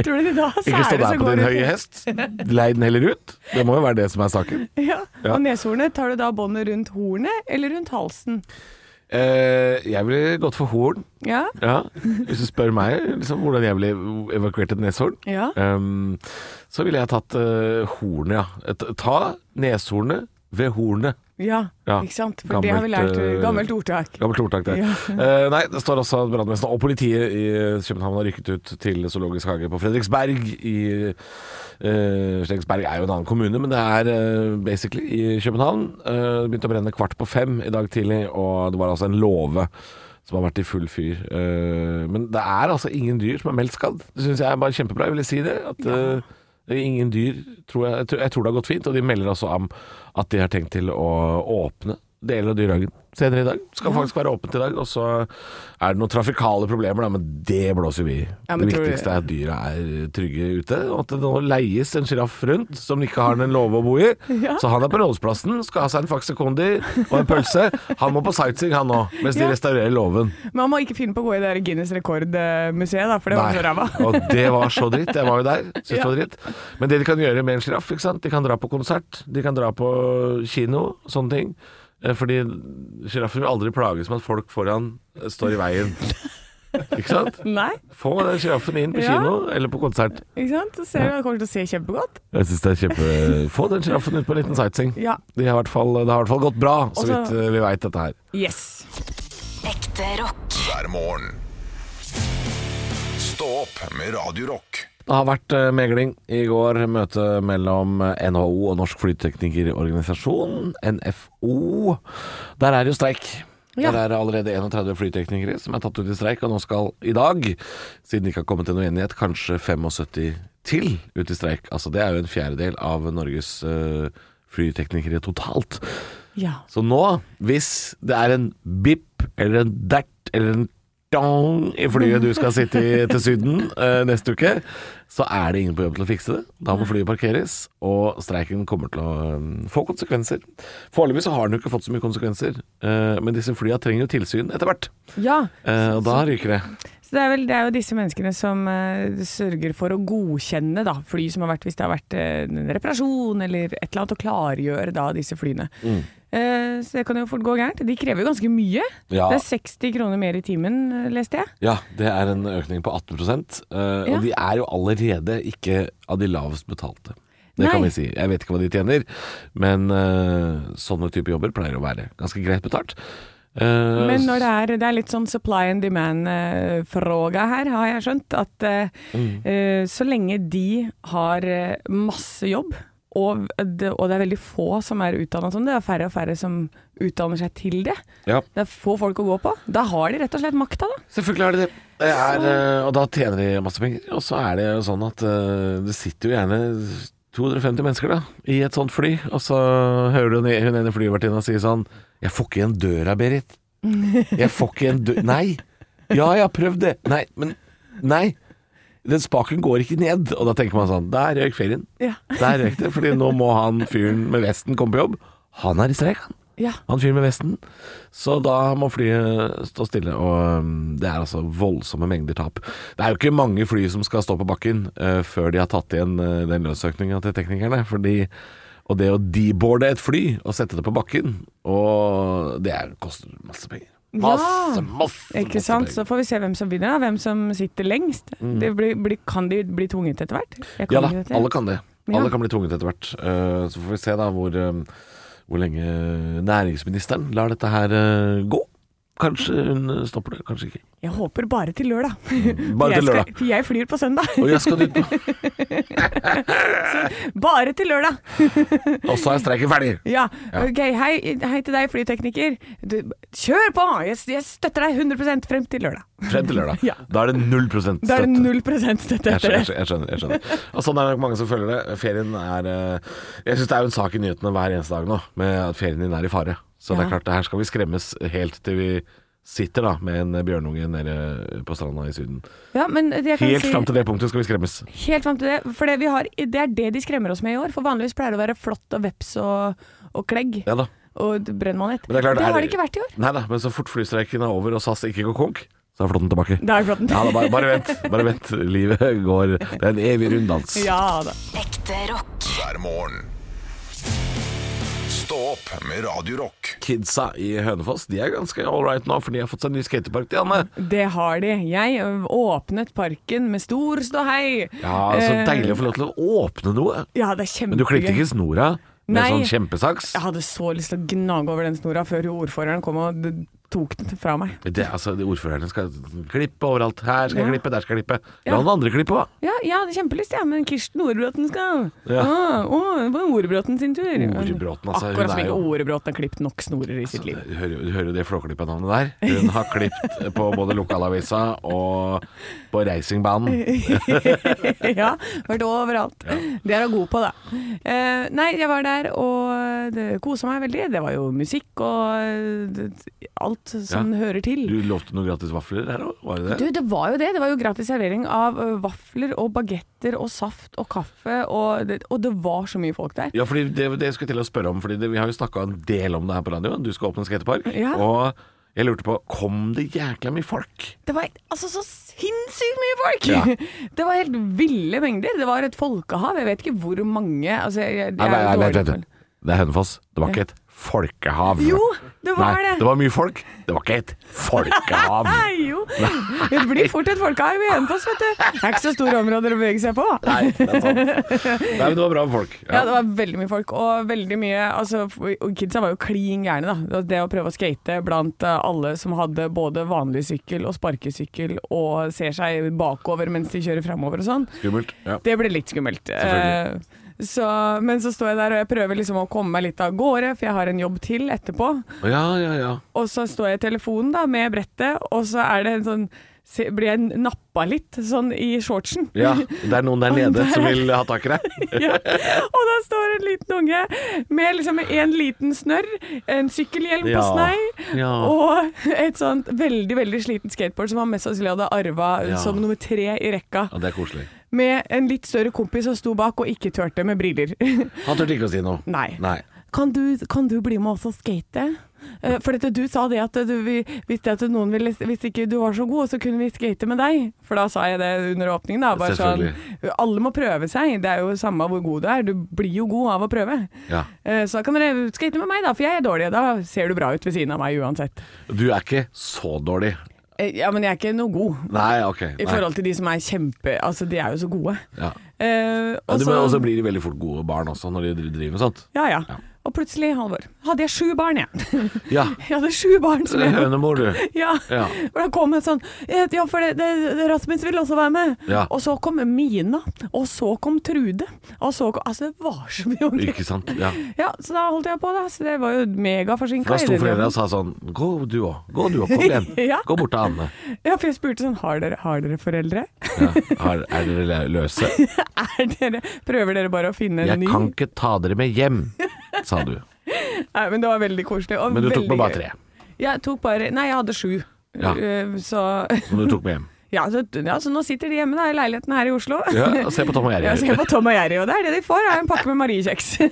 Speaker 4: Tror du de da har
Speaker 3: Ikke stå
Speaker 4: sære
Speaker 3: der
Speaker 4: som
Speaker 3: på
Speaker 4: går
Speaker 3: din
Speaker 4: ut?
Speaker 3: høye hest. Lei den heller ut. Det må jo være det som er saken.
Speaker 4: Ja.
Speaker 3: Ja.
Speaker 4: Og neshornet, tar du da båndet rundt hornet eller rundt halsen?
Speaker 3: Eh, jeg ville gått for horn.
Speaker 4: Ja.
Speaker 3: Ja. Hvis du spør meg liksom, hvordan jeg ville evakuert et neshorn,
Speaker 4: Ja.
Speaker 3: ehm, så ville jeg tatt eh, hornet, ja. Et- Ta neshornet ved hornet.
Speaker 4: Ja,
Speaker 3: Ja,
Speaker 4: ikke sant? For det har vi
Speaker 3: gammelt,
Speaker 4: lært.
Speaker 3: eh,
Speaker 4: Gammelt ordtak.
Speaker 3: Gammelt ordtak, det.
Speaker 4: Ja.
Speaker 3: Eh, nei, det står også at brannvesenet og politiet i København har rykket ut til zoologisk hage på Fredriksberg. I, eh, Fredriksberg er jo en annen kommune, men det er eh, basically i København. Eh, det begynte å brenne kvart på fem i dag tidlig, og det var altså en låve som har vært i full fyr. Eh, men det er altså ingen dyr som er meldt skadd. Det syns jeg er bare kjempebra. Jeg ville si det. At, eh, Ingen dyr tror jeg, jeg, tror, jeg tror det har gått fint, og de melder også om at de har tenkt til å åpne deler av dyrehagen senere i dag. Skal faktisk være åpent i dag. Og så er det noen trafikale problemer, da, men det blåser vi i.
Speaker 4: Ja, men
Speaker 3: det
Speaker 4: tror du-
Speaker 3: viktigste er at dyra er trygge ute, og at det nå leies en sjiraff rundt som ikke har en låve å bo i.
Speaker 4: Ja.
Speaker 3: Så han er på Rådhusplassen, skal ha seg en Faxe Kondi og en pølse. Han må på sightseeing, han òg, mens
Speaker 4: Ja.
Speaker 3: de restaurerer låven.
Speaker 4: Men man må ikke finne på å gå i det der Guinness rekordmuseet, da, for det var så ræva.
Speaker 3: Nei, og det var så dritt. Jeg var jo der. Synes det
Speaker 4: Ja.
Speaker 3: var dritt. Men det de kan gjøre med en sjiraff, ikke sant? De kan dra på konsert, de kan dra på kino, sånne ting. Eh, Fordi sjiraffer vil aldri plages med at folk foran eh, står i veien. Ikke sant?
Speaker 4: Nei,
Speaker 3: Få den sjiraffen inn på
Speaker 4: Ja.
Speaker 3: kino eller på konsert.
Speaker 4: ikke sant? Så ser du, han kommer til å se kjempegodt.
Speaker 3: Jeg synes det er kjempe... Få den sjiraffen ut på en liten sightseeing.
Speaker 4: Ja.
Speaker 3: De har i hvert fall, det har i hvert fall gått bra, så
Speaker 4: Og så-
Speaker 3: vidt eh, vi veit dette her.
Speaker 4: Yes.
Speaker 6: Ekte rock.
Speaker 2: hver morgen. Stå opp med Radio Rock.
Speaker 3: Det har vært eh, megling i går. Møte mellom eh, NHO og Norsk flyteknikerorganisasjon, NFO. Der er det jo streik.
Speaker 4: Ja.
Speaker 3: Der er det allerede 31 flyteknikere som er tatt ut i streik, og nå skal i dag, siden det ikke har kommet til noen enighet, kanskje 75 til ut i streik. Altså det er jo en fjerdedel av Norges eh, flyteknikere totalt.
Speaker 4: Ja.
Speaker 3: Så nå, hvis det er en bip eller en dert eller en dong i flyet du skal sitte i til Syden eh, neste uke, så er det ingen på jobb til å fikse det. Da må flyet parkeres, og streiken kommer til å eh, få konsekvenser. Foreløpig så har den jo ikke fått så mye konsekvenser, eh, men disse flya trenger jo tilsyn etter hvert.
Speaker 4: ja.
Speaker 3: Eh, og da ryker det.
Speaker 4: Så det er, vel, det er jo disse menneskene som eh, sørger for å godkjenne da, fly som har vært, hvis det har vært eh, en reparasjon eller et eller annet, og klargjøre da disse flyene.
Speaker 3: Mm.
Speaker 4: Eh, så det kan jo fort gå gærent. De krever jo ganske mye.
Speaker 3: Ja.
Speaker 4: Det er 60 kroner mer i timen, eh, leste jeg.
Speaker 3: Ja, det er en økning på 18 eh,
Speaker 4: Ja.
Speaker 3: Og de er jo allerede ikke av de lavest betalte. Det kan
Speaker 4: Nei.
Speaker 3: vi si. Jeg vet ikke hva de tjener, men eh, sånne type jobber pleier å være ganske greit betalt. Eh,
Speaker 4: Men når det er, det er litt sånn supply and demand-fråga her, har jeg skjønt. At eh,
Speaker 3: Mm.
Speaker 4: eh, så lenge de har eh, masse jobb, og eh, det, og det er veldig få som er utdanna som det, det er færre og færre som utdanner seg til det,
Speaker 3: Ja.
Speaker 4: det er få folk å gå på, da har de rett og slett makta, da.
Speaker 3: Selvfølgelig er det det. det er, eh, og da tjener de masse penger. Og så er det jo sånn at eh, det sitter jo gjerne 250 mennesker da, i et sånt fly, og så hører du hun hun ene flyvertinna si sånn 'Jeg får ikke igjen døra, Berit'. 'Jeg får ikke igjen døra Nei! Ja, jeg har prøvd det. Nei, men Nei! Den spaken går ikke ned. Og da tenker man sånn Der røyk ferien.
Speaker 4: Ja.
Speaker 3: Der røyk det. Fordi nå må han fyren med vesten komme på jobb. Han er i streik, han.
Speaker 4: Ja.
Speaker 3: Han fyren med vesten. Så da må flyet stå stille, og um, det er altså voldsomme mengder tap. Det er jo ikke mange fly som skal stå på bakken eh, før de har tatt igjen eh, den lønnsøkninga til teknikerne. Fordi, og det å deboarde et fly og sette det på bakken, og det er, koster masse penger. Masse, masse,
Speaker 4: Ikke
Speaker 3: masse
Speaker 4: sant?
Speaker 3: penger.
Speaker 4: Så får vi se hvem som vinner, da. Hvem som sitter lengst. Det blir, blir, kan de bli tvunget etter hvert?
Speaker 3: Mm.
Speaker 4: Jeg kan
Speaker 3: Ja da,
Speaker 4: ikke dette.
Speaker 3: alle kan det.
Speaker 4: Ja.
Speaker 3: Alle kan bli tvunget etter hvert. Eh, Så får vi se da hvor, eh, hvor lenge næringsministeren lar dette her eh, gå. Kanskje hun eh, stopper det, kanskje ikke.
Speaker 4: Jeg håper bare til lørdag.
Speaker 3: Bare til
Speaker 4: jeg skal-
Speaker 3: lørdag.
Speaker 4: for jeg flyr på søndag.
Speaker 3: Og jeg skal dit på
Speaker 4: Bare til lørdag!
Speaker 3: Og så er streiken ferdig.
Speaker 4: Ja,
Speaker 3: Ja.
Speaker 4: ok, hei, hei til deg flytekniker. Du, kjør på! Jeg, jeg støtter deg 100 frem til lørdag.
Speaker 3: Frem til lørdag.
Speaker 4: Ja.
Speaker 3: Da er det null prosent
Speaker 4: Da er
Speaker 3: støtte.
Speaker 4: det 0 støtte
Speaker 3: Jeg
Speaker 4: etter
Speaker 3: skjønner,
Speaker 4: det.
Speaker 3: jeg skjønner. jeg skjønner Og Sånn er det nok mange som føler det. Ferien er eh, Jeg syns det er jo en sak i nyhetene hver eneste dag nå, med at ferien din er i fare. Så det
Speaker 4: Ja.
Speaker 3: er klart, det her skal vi skremmes helt til vi sitter da med en bjørnunge nede på stranda i Syden.
Speaker 4: Ja, men jeg kan
Speaker 3: Helt
Speaker 4: si,
Speaker 3: fram til det punktet skal vi skremmes.
Speaker 4: Helt fram til det. For det, vi har, det er det de skremmer oss med i år. For vanligvis pleier det å være flått og veps og, og klegg
Speaker 3: Ja da.
Speaker 4: og brennmanet.
Speaker 3: Men det er klart, er
Speaker 4: har
Speaker 3: det-
Speaker 4: det ikke vært i år.
Speaker 3: Nei da, men så fort flystreiken er over og SAS ikke går konk, så er flåtten tilbake.
Speaker 4: Da er flåtten
Speaker 3: Ja da, bare, bare vent. Bare vent. Livet går Det er en evig runddans.
Speaker 4: Ja da.
Speaker 6: Ekte rock.
Speaker 2: hver morgen. Stå opp med Radio Rock.
Speaker 3: Kidsa i Hønefoss De er ganske ålreit nå, for de har fått seg en ny skatepark. De, Anne.
Speaker 4: Det har de. Jeg ø, åpnet parken med stor ståhei.
Speaker 3: Ja, Så
Speaker 4: Eh,
Speaker 3: deilig å få lov til å åpne noe.
Speaker 4: Ja, det er kjempegøy.
Speaker 3: Men du klipte ikke snora? Med
Speaker 4: Nei.
Speaker 3: sånn kjempesaks.
Speaker 4: Jeg hadde så lyst til å gnage over den snora før ordføreren kom og d- tok den fra meg.
Speaker 3: Det, altså, de Ordførerne skal klippe overalt. Her skal jeg
Speaker 4: Ja.
Speaker 3: klippe, der skal jeg klippe. La
Speaker 4: Ja.
Speaker 3: noen andre klippe, da.
Speaker 4: Ja, jeg hadde kjempelyst, ja, men Kirsten Orebråten skal.
Speaker 3: Ja.
Speaker 4: Ah, å, det var Orebråten sin tur.
Speaker 3: Orebråten, altså, hun
Speaker 4: Akkurat som
Speaker 3: er
Speaker 4: ikke
Speaker 3: jo-
Speaker 4: Orebråten har klippet nok snorer i sitt liv.
Speaker 3: Du hører, du hører jo det flåklippernavnet der. Hun har klippet på både lokalavisa og på racingbanen.
Speaker 4: ja, vært overalt. Det er hun god på, da. Eh, nei, jeg var der og det kosa meg veldig. Det var jo musikk og eh, det- alt som
Speaker 3: Ja.
Speaker 4: hører til.
Speaker 3: Du lovte noen gratis vafler her òg, var det det?
Speaker 4: Du, det var jo det. Det var jo gratis servering av ø, vafler og bagetter og saft og kaffe, og det, og det var så mye folk der.
Speaker 3: Ja, fordi det, det skulle jeg til å spørre om, Fordi det, vi har jo snakka en del om det her på radioen. Du skal åpne en skatepark.
Speaker 4: Ja.
Speaker 3: Og jeg lurte på Kom det jækla mye folk?
Speaker 4: Det var altså så sinnssykt mye folk!
Speaker 3: Ja.
Speaker 4: Det var helt ville mengder. Det var et folkehav. Jeg vet ikke hvor mange altså, jeg, jeg,
Speaker 3: Nei,
Speaker 4: jeg,
Speaker 3: nei,
Speaker 4: er jo
Speaker 3: nei,
Speaker 4: dårlig
Speaker 3: vent,
Speaker 4: på-
Speaker 3: vent. Det er Hønefoss. Det var ikke et folkehav.
Speaker 4: Jo, det var
Speaker 3: nei,
Speaker 4: det.
Speaker 3: Det var mye folk. Det var ikke et folkehav.
Speaker 4: Nei, jo. Ja, Det blir fort et folkehav i Hønefoss, vet du. Det er ikke så store områder å bevege seg på.
Speaker 3: Nei, det er sant. Nei, men det var bra med folk.
Speaker 4: Ja, det var veldig mye folk, og veldig mye altså, og Kidsa var jo klin gærne, da. Det å prøve å skate blant eh, alle som hadde både vanlig sykkel og sparkesykkel, og ser seg bakover mens de kjører framover og sånn.
Speaker 3: Skummelt. Ja.
Speaker 4: Det ble litt skummelt.
Speaker 3: Selvfølgelig.
Speaker 4: Eh, Så, men så står jeg der og jeg prøver liksom å komme meg litt av gårde, for jeg har en jobb til etterpå.
Speaker 3: ja, ja, ja.
Speaker 4: Og så står jeg i telefonen da med brettet, og så er det en sånn se- blir jeg nappa litt sånn i shortsen.
Speaker 3: Ja, det er noen der nede som vil ha tak i deg.
Speaker 4: Ja. Og da står en liten unge med liksom en liten snørr, en sykkelhjelm på
Speaker 3: Ja.
Speaker 4: snei
Speaker 3: Ja.
Speaker 4: og et sånt veldig veldig sliten skateboard som han mest sannsynlig hadde arva
Speaker 3: Ja.
Speaker 4: som nummer tre i rekka,
Speaker 3: Ja, det er koselig.
Speaker 4: med en litt større kompis som sto bak og ikke turte med briller.
Speaker 3: Han turte ikke å si noe.
Speaker 4: Nei.
Speaker 3: Nei.
Speaker 4: Kan du, kan du bli med oss og skate? Eh, For dette, du sa det at du, vi, hvis, det at noen ville, hvis ikke du var så god, så kunne vi skate med deg. For da sa jeg det under åpningen. Da, bare sånn, alle må prøve seg. Det er jo samme hvor god du er. Du blir jo god av å prøve.
Speaker 3: Ja.
Speaker 4: Eh, Så da kan dere skate med meg, da, for jeg er dårlig. Da ser du bra ut ved siden av meg uansett.
Speaker 3: Du er ikke så dårlig.
Speaker 4: Eh, Ja, men jeg er ikke noe god
Speaker 3: Nei, ok. Nei.
Speaker 4: i forhold til de som er kjempe... Altså, de er jo så gode.
Speaker 3: Ja.
Speaker 4: Eh,
Speaker 3: Men
Speaker 4: og
Speaker 3: du- men
Speaker 4: så-
Speaker 3: også blir de veldig fort gode barn også, når de driver med sånt.
Speaker 4: ja, ja.
Speaker 3: Ja.
Speaker 4: Og plutselig, Halvor, hadde jeg sju barn, jeg.
Speaker 3: Ja.
Speaker 4: Jeg hadde sju barn som jeg
Speaker 3: Hønemor, du.
Speaker 4: Ja.
Speaker 3: Ja.
Speaker 4: Og da kom en sånn eh, Ja, for det, det, det, Rasmus vil også være med.
Speaker 3: Ja.
Speaker 4: Og så kom Mina, og så kom Trude. Og så kom, altså, det var så mye unger.
Speaker 3: Ikke sant. Ja.
Speaker 4: Ja, så da holdt jeg på, da. Så det var jo megaforsinka.
Speaker 3: Da sto foreldra og sa sånn Gå du òg. Gå du òg. Kom igjen.
Speaker 4: Ja.
Speaker 3: Gå bort til Anne.
Speaker 4: Ja, for jeg spurte sånn Har dere, har dere foreldre?
Speaker 3: Ja. Er, er dere lø- løse?
Speaker 4: Er dere, prøver dere bare å finne en
Speaker 3: Jeg
Speaker 4: ny?
Speaker 3: kan ikke ta dere med hjem, sa du.
Speaker 4: Nei, men det var veldig koselig. Og
Speaker 3: Men du tok
Speaker 4: veldig
Speaker 3: med bare
Speaker 4: gøy.
Speaker 3: tre.
Speaker 4: Jeg tok bare Nei, jeg hadde sju.
Speaker 3: Ja.
Speaker 4: Eh, Så,
Speaker 3: Som du tok med hjem.
Speaker 4: ja, så, ja, så nå sitter de hjemme da, i leiligheten her i Oslo.
Speaker 3: Ja, og se på Tom og
Speaker 4: Ja, se
Speaker 3: Jerry.
Speaker 4: på Tom og Jerry, og det er det de får, er en pakke med Mariekjeks.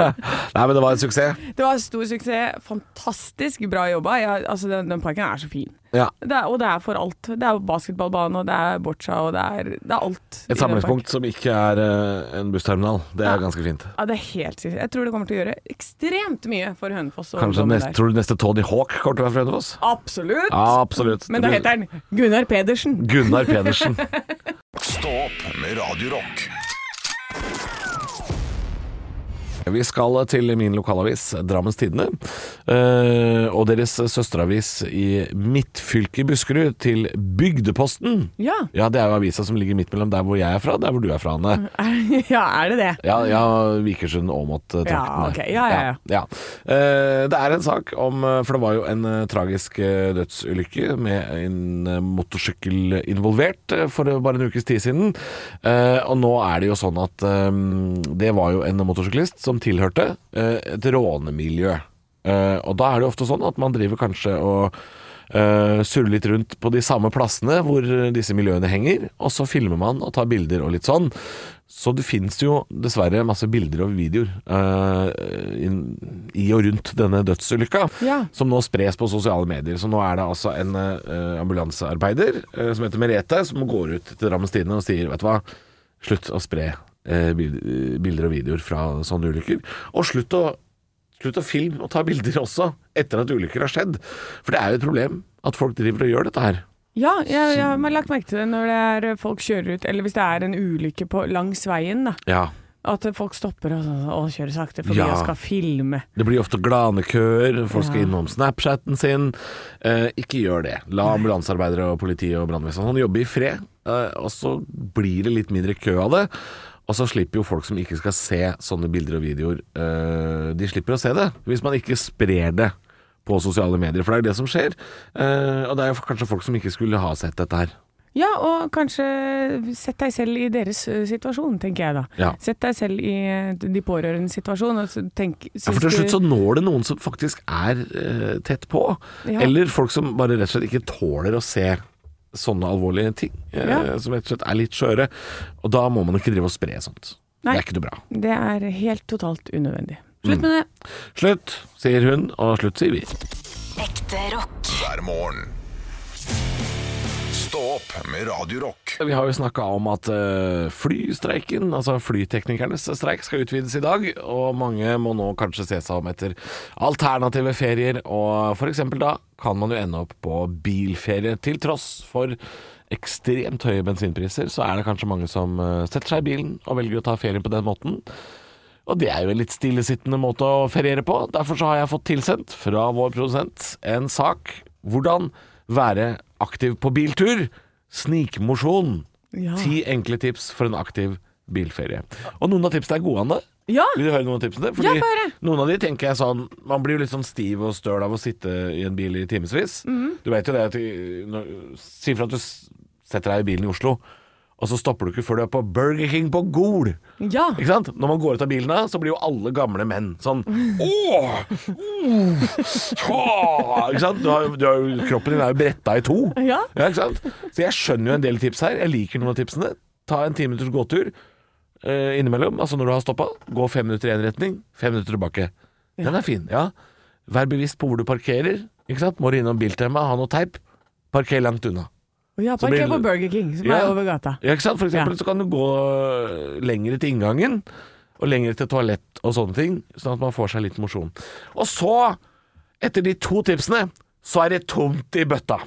Speaker 3: Nei, men det var en suksess.
Speaker 4: Det var stor suksess, fantastisk bra jobba. Jeg, altså, den, den parken er så fin.
Speaker 3: Ja.
Speaker 4: Det er, og det er for alt. Det er jo basketballbane, og det er boccia, og det er, det er alt. i den
Speaker 3: Et
Speaker 4: parken.
Speaker 3: samlingspunkt som ikke er eh, en bussterminal. Det er ganske fint.
Speaker 4: Ja, det er helt sikkert. Jeg tror det kommer til å gjøre ekstremt mye for Hønefoss. og
Speaker 3: Kanskje
Speaker 4: ungdommen
Speaker 3: neste,
Speaker 4: der.
Speaker 3: tror du neste Tony Hawk kommer til å være fra Hønefoss?
Speaker 4: Absolutt.
Speaker 3: Ja, absolutt.
Speaker 4: Men da heter han Gunnar Pedersen.
Speaker 3: Gunnar Pedersen.
Speaker 2: Stå opp med Radio Rock.
Speaker 3: Vi skal til min lokalavis, Drammens Tidende, eh, og deres søsteravis i midtfylket i Buskerud, til Bygdeposten.
Speaker 4: Ja.
Speaker 3: Ja, det er jo avisa som ligger midt mellom der hvor jeg er fra, og der hvor du er fra, Anne.
Speaker 4: ja, er det det?
Speaker 3: Ja, ja Vikersund, Åmot-traktene.
Speaker 4: Ja, ok. Ja, ja, ja.
Speaker 3: Eh, det er en sak om eh, For det var jo en eh, tragisk eh, dødsulykke med en eh, motorsykkel involvert eh, for eh, bare en ukes tid siden. Eh, og nå er det jo sånn at eh, det var jo en motorsyklist som tilhørte eh, et rånemiljø. Eh, og da er det jo ofte sånn at man driver kanskje og eh, surrer litt rundt på de samme plassene hvor eh, disse miljøene henger, og så filmer man og tar bilder og litt sånn. Så det finnes jo dessverre masse bilder og videoer eh, inn- i og rundt denne dødsulykka,
Speaker 4: Ja.
Speaker 3: som nå spres på sosiale medier. Så nå er det altså en eh, ambulansearbeider eh, som heter Merete, som går ut til Drammens Tidende og sier, vet du hva, slutt å spre eh, bil- bilder og videoer fra sånne ulykker, og slutt å Slutt å filme og ta bilder også, etter at ulykker har skjedd. For det er jo et problem at folk driver og gjør dette her.
Speaker 4: Ja, jeg, eh, jeg har lagt merke til det når det er folk kjører ut, eller hvis det er en ulykke på, langs veien, da.
Speaker 3: Ja.
Speaker 4: At folk stopper og, sånn, og kjører sakte fordi
Speaker 3: Ja.
Speaker 4: jeg skal filme.
Speaker 3: Det blir ofte glanekøer, folk skal
Speaker 4: Ja.
Speaker 3: innom Snapchaten sin. Eh, ikke gjør det. La ambulansearbeidere og politi og brannvesen sånn jobbe i fred, eh, og så blir det litt mindre kø av det. Og så slipper jo folk som ikke skal se sånne bilder og videoer, eh, de slipper å se det. Hvis man ikke sprer det på sosiale medier, for det er jo det som skjer. Eh, og det er jo kanskje folk som ikke skulle ha sett dette her.
Speaker 4: Ja, og kanskje sett deg selv i deres eh, situasjon, tenker jeg da.
Speaker 3: Ja.
Speaker 4: Sett deg selv i eh, de pårørendes situasjon. Og så tenk,
Speaker 3: Ja, for til
Speaker 4: synes
Speaker 3: slutt så
Speaker 4: du-
Speaker 3: når det noen som faktisk er eh, tett på,
Speaker 4: Ja.
Speaker 3: eller folk som bare rett og slett ikke tåler å se sånne alvorlige ting, eh,
Speaker 4: Ja.
Speaker 3: som rett og slett er litt skjøre. Og da må man ikke drive og spre sånt.
Speaker 4: Nei.
Speaker 3: Det er ikke noe bra.
Speaker 4: Det er helt totalt unødvendig.
Speaker 3: Mm.
Speaker 4: Slutt med det.
Speaker 3: Slutt, sier hun, og slutt, sier vi.
Speaker 6: Ekte rock.
Speaker 2: hver morgen. Stå opp med Radio Rock.
Speaker 3: Vi har jo snakka om at eh, flystreiken, altså flyteknikernes streik, skal utvides i dag. Og mange må nå kanskje se seg om etter alternative ferier. Og f.eks. da kan man jo ende opp på bilferie. Til tross for ekstremt høye bensinpriser, så er det kanskje mange som eh, setter seg i bilen og velger å ta ferie på den måten. Og det er jo en litt stillesittende måte å feriere på. Derfor så har jeg fått tilsendt fra vår produsent en sak. Hvordan være aktiv på biltur. Snikmosjon.
Speaker 4: Ja.
Speaker 3: Ti enkle tips for en aktiv bilferie. Og noen av tipsene er gode, Anne.
Speaker 4: Ja!
Speaker 3: Vil du høre noen av tipsene?
Speaker 4: Ja, få høre.
Speaker 3: noen av de tenker jeg sånn Man blir jo litt sånn stiv og støl av å sitte i en bil i timevis.
Speaker 4: Mhm.
Speaker 3: Du vet jo det at i- når- Si for at du s- setter deg i bilen i Oslo, og så stopper du ikke før du er på Burger King på Gol.
Speaker 4: Ja!
Speaker 3: Ikke sant? Når man går ut av bilen, da, så blir jo alle gamle menn sånn Åh! Uh, tja!» Ikke sant? Du har, du har, jo- kroppen din er jo bretta i to.
Speaker 4: Ja.
Speaker 3: ikke sant? Så jeg skjønner jo en del tips her. Jeg liker noen av tipsene. Ta en timinuters gåtur eh, innimellom. Altså når du har stoppa. Gå fem minutter i én retning, fem minutter tilbake. Den er fin. ja Vær bevisst på hvor du parkerer. Ikke sant? Må du innom Biltema, ha noe teip. Parker langt unna.
Speaker 4: Og ja,
Speaker 3: blir
Speaker 4: parker
Speaker 3: det-
Speaker 4: på Burger King, som
Speaker 3: Ja.
Speaker 4: er over gata.
Speaker 3: Ja, ikke sant? For eksempel
Speaker 4: Ja.
Speaker 3: så kan du gå eh, lengre til inngangen, og lengre til toalett og sånne ting, sånn at man får seg litt mosjon. Og så, etter de to tipsene, så er det tomt i bøtta.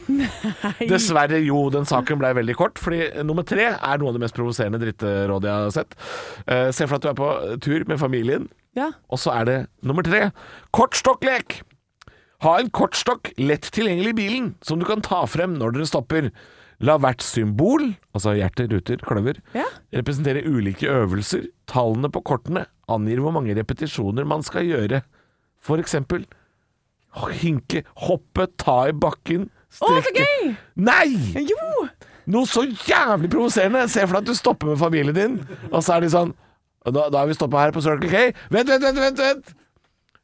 Speaker 3: Dessverre, jo. Den saken ble veldig kort, fordi nummer tre er noe av det mest provoserende drittrådet jeg har sett. Eh, se for deg at du er på tur med familien,
Speaker 4: Ja.
Speaker 3: og så er det nummer tre kortstokklek. Ha en kortstokk lett tilgjengelig i bilen, som du kan ta frem når dere stopper. La hvert symbol, altså hjerte, ruter, kløver,
Speaker 4: Ja.
Speaker 3: representere ulike øvelser. Tallene på kortene angir hvor mange repetisjoner man skal gjøre. For eksempel hinke, hoppe, ta i bakken,
Speaker 4: Å, så
Speaker 3: strekke
Speaker 4: gøy!
Speaker 3: Nei!
Speaker 4: Jo!
Speaker 3: Noe så jævlig provoserende! Se for deg at du stopper med familien din, og så er de sånn og da, da er vi stoppa her på Circle K. Vent, vent, vent! vent, vent.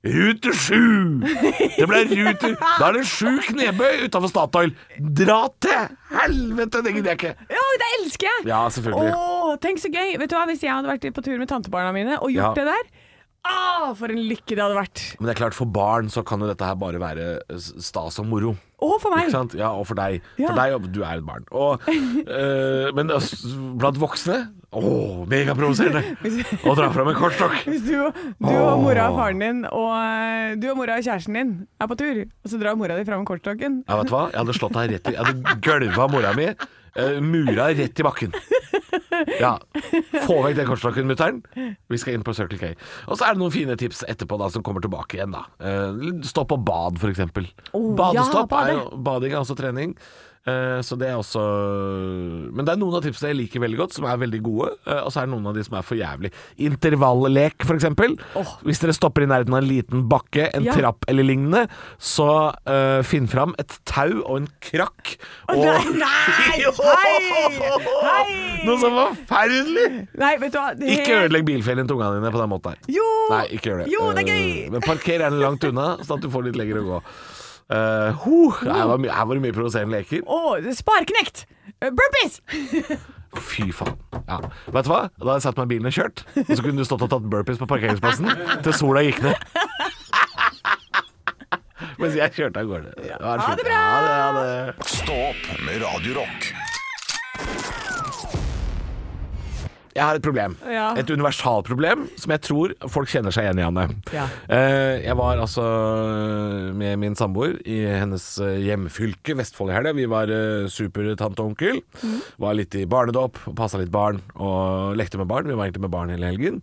Speaker 3: Rute sju! Det ble ruter Da er det sju knebøy utafor Statoil. Dra til helvete! Det gidder jeg ikke.
Speaker 4: Ja, det elsker jeg!
Speaker 3: Ja, selvfølgelig.
Speaker 4: Åh, tenk så gøy! Vet du hva, Hvis jeg hadde vært på tur med tantebarna mine og
Speaker 3: Ja.
Speaker 4: gjort det der ah, For en lykke det hadde vært!
Speaker 3: Men det er klart, for barn så kan jo dette her bare være s- stas og moro.
Speaker 4: Og for meg!
Speaker 3: Ikke sant? Ja, og for deg.
Speaker 4: Ja.
Speaker 3: For deg, du er et barn. Og, eh, men altså, blant voksne Å, megaprovoserende! Å dra fram en kortstokk!
Speaker 4: Hvis du, du og mora og faren din og eh, du og mora og kjæresten din er på tur, og så drar mora di fram kortstokken
Speaker 3: Ja, vet du hva? Jeg hadde slått deg rett i Jeg hadde gølva mora mi, eh, mura rett i bakken. Ja. Få vekk den kortstokken, mutter'n. Vi skal inn på Circle K. Og så er det noen fine tips etterpå da som kommer tilbake igjen, da. Eh, Stopp og bad, for eksempel. Badestopp
Speaker 4: ja, bade.
Speaker 3: er jo Bading er også trening. Eh, Så det er også Men det er noen av tipsene jeg liker veldig godt, som er veldig gode. eh, Og så er det noen av de som er for jævlig. Intervallek, for eksempel. Hvis dere stopper i nærheten av en liten bakke, en
Speaker 4: Ja.
Speaker 3: trapp eller lignende, så eh, finn fram et tau og en krakk. Og
Speaker 4: Nei!
Speaker 3: Jo!
Speaker 4: Hei!
Speaker 3: Noe så forferdelig!
Speaker 4: Nei, vet du hva det-
Speaker 3: Ikke ødelegg bilferien til ungene dine på den måten her.
Speaker 4: Jo!
Speaker 3: Nei, ikke gjør det.
Speaker 4: Jo, det er gøy!
Speaker 3: Eh, Men parker gjerne langt unna, sånn at du får litt lenger å gå. Eh, huh, her, var my- her var det mye provoserende leker.
Speaker 4: Åh, spareknekt! Eh, Burpees!
Speaker 3: Fy faen. Ja. Vet du hva? Da hadde jeg satt meg i bilen og kjørt. Og så kunne du stått og tatt burpees på parkeringsplassen til sola gikk ned. Mens jeg kjørte av gårde. Det var
Speaker 4: Ha
Speaker 3: fint.
Speaker 4: det bra!
Speaker 3: Ja, det, ja, det.
Speaker 2: Stå opp med Radio Rock.
Speaker 3: Jeg har et problem.
Speaker 4: Ja.
Speaker 3: Et universalproblem som jeg tror folk kjenner seg igjen i, Anne.
Speaker 4: Ja.
Speaker 3: Eh, Jeg var altså med min samboer i hennes eh, hjemfylke, Vestfold, i helga. Vi var eh, supertante og onkel.
Speaker 4: Mm.
Speaker 3: Var litt i barnedåp, passa litt barn og lekte med barn. Vi var egentlig med barn hele helgen.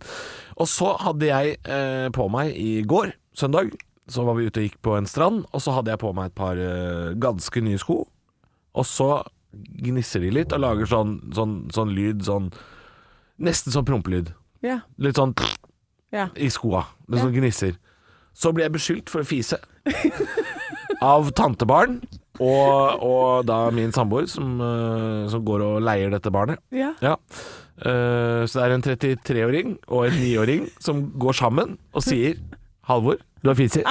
Speaker 3: Og så hadde jeg eh, på meg i går, søndag, så var vi ute og gikk på en strand, og så hadde jeg på meg et par eh, ganske nye sko. Og så gnisser de litt og lager sånn, sånn, sånn lyd, sånn Nesten sånn prompelyd.
Speaker 4: Ja.
Speaker 3: Litt sånn
Speaker 4: Ja.
Speaker 3: i skoa. Litt sånn gnisser. Så ble jeg beskyldt for å fise. Av tantebarn og, og da min samboer, som, eh, som går og leier dette barnet.
Speaker 4: Ja.
Speaker 3: Ja. Eh, så det er en 33-åring og en 9-åring som går sammen og sier 'Halvor, du har fiser'.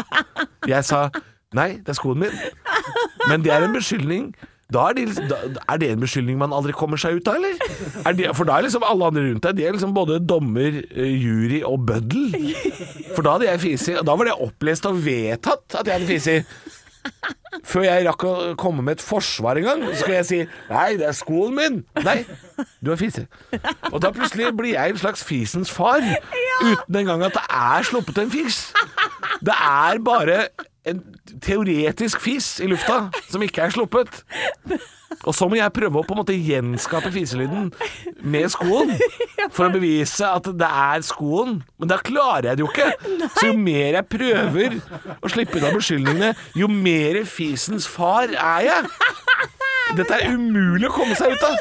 Speaker 3: Jeg sa 'Nei, det er skoen min'. Men det er en beskyldning. Da er, de, da, er det en beskyldning man aldri kommer seg ut av, eller? Er det, for da er liksom alle andre rundt deg De er liksom både dommer, eh, jury og bøddel. For da hadde jeg fisi, og da var det opplest og vedtatt at jeg hadde fisi. Før jeg rakk å komme med et forsvar en gang, så skal jeg si 'Nei, det er skoen min'. Nei, du har fise. Og da plutselig blir jeg en slags fisens far, uten engang at det er sluppet en fis. Det er bare en teoretisk fis i lufta som ikke er sluppet. Og så må jeg prøve å på en måte gjenskape fiselyden med skoen, for å bevise at det er skoen. Men da klarer jeg det jo ikke. Så jo mer jeg prøver å slippe unna beskyldningene, jo mer fisens far er jeg. Dette er umulig å komme seg ut av.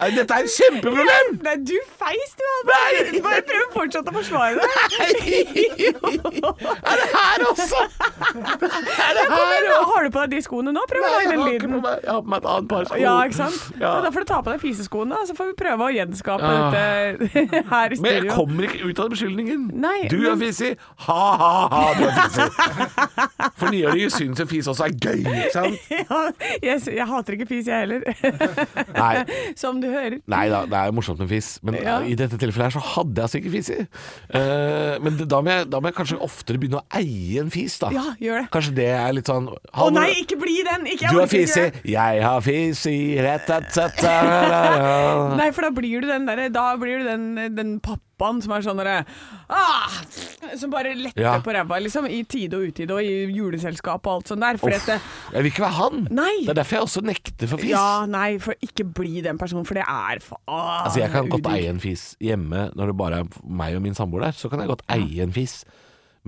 Speaker 3: Nei, Dette er et kjempeproblem!
Speaker 4: Nei, du feis, du. Albert.
Speaker 3: Nei!
Speaker 4: Bare prøv fortsatt å forsvare deg.
Speaker 3: Er det her også? Er det her
Speaker 4: Nå
Speaker 3: også?
Speaker 4: har du på deg de skoene nå. Prøv å
Speaker 3: Nei,
Speaker 4: lage
Speaker 3: jeg
Speaker 4: den
Speaker 3: har ikke
Speaker 4: lyden.
Speaker 3: på meg Jeg har på meg et annet par sko.
Speaker 4: Ja, ikke sant?
Speaker 3: Ja.
Speaker 4: Men Da får du ta på deg fiseskoene, og så får vi prøve å gjenskape
Speaker 3: Ah.
Speaker 4: dette her i
Speaker 3: Men jeg
Speaker 4: studio.
Speaker 3: kommer ikke ut av beskyldningen.
Speaker 4: Nei,
Speaker 3: du er
Speaker 4: men-
Speaker 3: fisig. Ha, ha, ha, du er fisig. For niåringer syns jo fis også er gøy, ikke sant?
Speaker 4: Ja, jeg, s- jeg hater ikke fis, jeg heller.
Speaker 3: Nei.
Speaker 4: Som du hører.
Speaker 3: Nei da, det er jo morsomt med fis, men
Speaker 4: Ja.
Speaker 3: i dette tilfellet her så hadde jeg altså ikke fis i. Eh, men det, da, må jeg, da må jeg kanskje oftere begynne å eie en fis, da.
Speaker 4: Ja, gjør det.
Speaker 3: Kanskje det er litt sånn
Speaker 4: Å nei, ikke bli den! Ikke, jeg
Speaker 3: Du har
Speaker 4: orker ikke
Speaker 3: fis i,
Speaker 4: det.
Speaker 3: jeg har fis i rett-tett-tett
Speaker 4: Nei, for da blir du den derre Da blir du den, den pappaen som er sånn derre ah, Som bare letter
Speaker 3: Ja.
Speaker 4: på ræva, liksom. I tide og utide, og i juleselskap og alt sånt der. For at det,
Speaker 3: Jeg vil ikke være han.
Speaker 4: Nei.
Speaker 3: Det er derfor jeg også nekter for fis.
Speaker 4: Ja, nei, for ikke bli den personen, for det er ah, faen
Speaker 3: Altså Jeg kan godt eie en fis hjemme når det bare er meg og min samboer der. Så kan jeg godt eie en fis.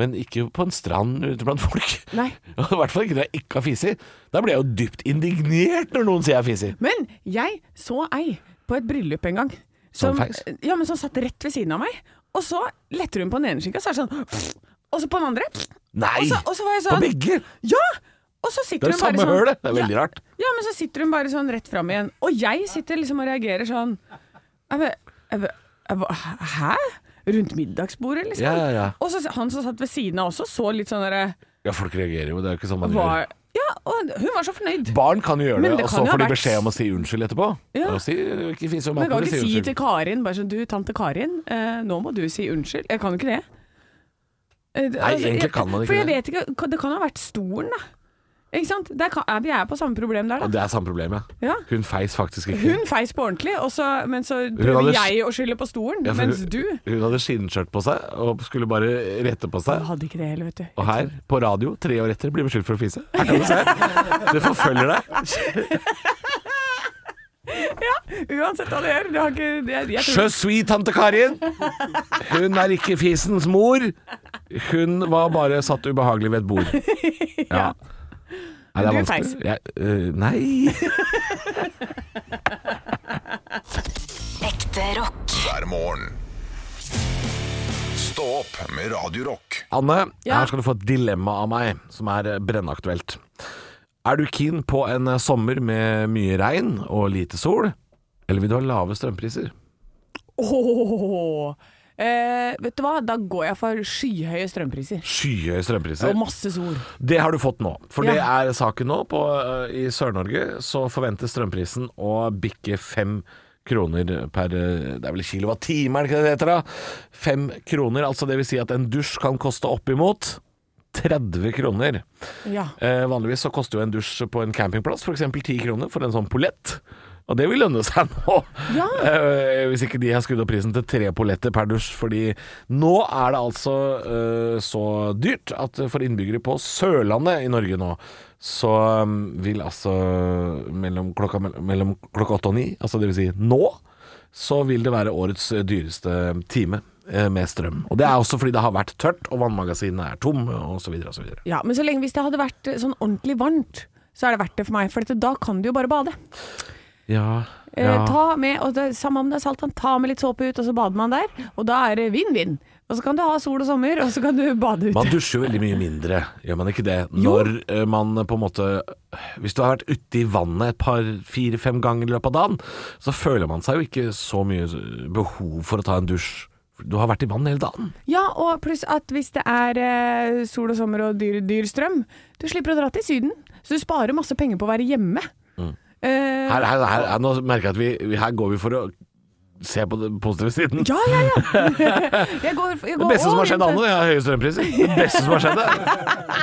Speaker 3: Men ikke på en strand ute blant folk.
Speaker 4: Nei.
Speaker 3: Og I hvert fall ikke når jeg ikke har fisi. Da blir jeg jo dypt indignert når noen sier jeg fiser.
Speaker 4: Men jeg så ei på et bryllup en gang.
Speaker 3: Som feis?
Speaker 4: ja, men som satt rett ved siden av meg. Og så letter hun på den ene skinka, så er det sånn Og så på den andre.
Speaker 3: Nei!
Speaker 4: Og så, og så var jeg
Speaker 3: På
Speaker 4: sånn
Speaker 3: begge!
Speaker 4: Ja! Og så
Speaker 3: Det
Speaker 4: sitter
Speaker 3: er jo
Speaker 4: hun bare
Speaker 3: samme
Speaker 4: sånn
Speaker 3: hølet. Det er veldig
Speaker 4: ja,
Speaker 3: rart.
Speaker 4: Ja, men så sitter hun bare sånn rett fram igjen. Og jeg sitter liksom og reagerer sånn jeg, bare- jeg, bare- jeg, bare, Hæ? Rundt middagsbordet, liksom?
Speaker 3: Ja, ja, ja.
Speaker 4: Og så han som satt ved siden av også, så litt sånn derre
Speaker 3: Ja, folk reagerer jo. Det er jo ikke sånn man gjør.
Speaker 4: var- Ja, og hun var så fornøyd.
Speaker 3: Barn kan jo gjøre
Speaker 4: Men
Speaker 3: det,
Speaker 4: det
Speaker 3: og så
Speaker 4: kan jo ha
Speaker 3: får de
Speaker 4: vært-
Speaker 3: beskjed om å si unnskyld etterpå.
Speaker 4: Ja.
Speaker 3: Og si, ikke fise om
Speaker 4: Men
Speaker 3: maten,
Speaker 4: jeg kan
Speaker 3: men
Speaker 4: ikke
Speaker 3: si
Speaker 4: si
Speaker 3: unnskyld.
Speaker 4: til Karin bare sånn Du, tante Karin, eh, nå må du si unnskyld. Jeg kan jo ikke det. Eh,
Speaker 3: egentlig
Speaker 4: jeg-
Speaker 3: kan man ikke
Speaker 4: For jeg
Speaker 3: det.
Speaker 4: vet ikke Det kan ha vært stolen, da. Ikke sant? Der kan, er vi er på samme problem der,
Speaker 3: Ja,
Speaker 4: da.
Speaker 3: Det er samme problemet.
Speaker 4: Ja.
Speaker 3: Hun feis faktisk ikke.
Speaker 4: Hun feis på ordentlig, og så, men så
Speaker 3: hadde
Speaker 4: prøver
Speaker 3: s-
Speaker 4: jeg å skylde på stolen,
Speaker 3: Ja, for
Speaker 4: mens
Speaker 3: hun-
Speaker 4: du
Speaker 3: Hun hadde skinnskjørt på seg og skulle bare rette på
Speaker 4: Jeg
Speaker 3: seg.
Speaker 4: hadde ikke det heller, vet du.
Speaker 3: Og her, på radio, tre år etter, blir beskyldt for å fise. Her kan du se. Det forfølger deg.
Speaker 4: Uansett hva du gjør, du har ikke jeg, jeg tror,
Speaker 3: Je suis tante Karin. Hun er ikke fisens mor. Hun var bare satt ubehagelig ved et bord. Ja. Nei, det er
Speaker 4: Men du
Speaker 3: vanskelig. Jeg, øh, nei.
Speaker 6: Ekte rock.
Speaker 2: hver morgen. Stå opp med Radio Rock.
Speaker 3: Anne,
Speaker 4: Ja.
Speaker 3: her skal du få et dilemma av meg som er eh, brennaktuelt. Er du keen på en eh, sommer med mye regn og lite sol, eller vil du ha lave strømpriser?
Speaker 4: Åh. Eh, vet du hva, da går jeg for skyhøye strømpriser.
Speaker 3: Skyhøye strømpriser.
Speaker 4: Og masse sol.
Speaker 3: Det har du fått nå. For det
Speaker 4: Ja.
Speaker 3: er saken nå. På, ø, I Sør-Norge så forventes strømprisen å bikke fem kroner per ø, Det er vel kilowattime, er det ikke det det heter? da? Fem kroner. Altså det vil si at en dusj kan koste oppimot 30 kroner.
Speaker 4: Ja.
Speaker 3: Eh, vanligvis så koster jo en dusj på en campingplass f.eks. 10 kroner for en sånn pollett. Og det vil lønne seg nå.
Speaker 4: Ja.
Speaker 3: Eh, hvis ikke de har skrudd opp prisen til tre polletter per dusj. Fordi nå er det altså eh, så dyrt at for innbyggere på Sørlandet i Norge nå, så eh, vil altså mellom klokka, mellom klokka åtte og ni, altså det vil si nå, så vil det være årets dyreste time eh, med strøm. Og det er også fordi det har vært tørt, og vannmagasinene er tomme, osv. osv.
Speaker 4: Ja, men så lenge hvis det hadde vært eh, sånn ordentlig varmt, så er det verdt det for meg. For dette, da kan du jo bare bade.
Speaker 3: Ja,
Speaker 4: Eh, Ta med, og det, Samme om det er saltvann, ta med litt såpe ut, og så bader man der. Og da er det vinn-vinn. Og så kan du ha sol og sommer, og så kan du bade ute.
Speaker 3: Man dusjer jo veldig mye mindre, gjør man ikke det? Når eh, man på en måte Hvis du har vært ute i vannet et par, fire-fem ganger i løpet av dagen, så føler man seg jo ikke så mye behov for å ta en dusj. Du har vært i vann hele dagen.
Speaker 4: Ja, og pluss at hvis det er eh, sol og sommer og dyr, dyr strøm, du slipper å dra til Syden. Så du sparer masse penger på å være hjemme.
Speaker 3: Mm.
Speaker 4: Eh,
Speaker 3: Her, her, her, her, nå merker jeg at vi, vi, her går vi for å se på den positive siden.
Speaker 4: ja, ja, ja! jeg går, jeg går
Speaker 3: Det beste som har skjedd
Speaker 4: all in
Speaker 3: Anne,
Speaker 4: på-
Speaker 3: jeg har høye strømpriser. Det beste som har skjedd det.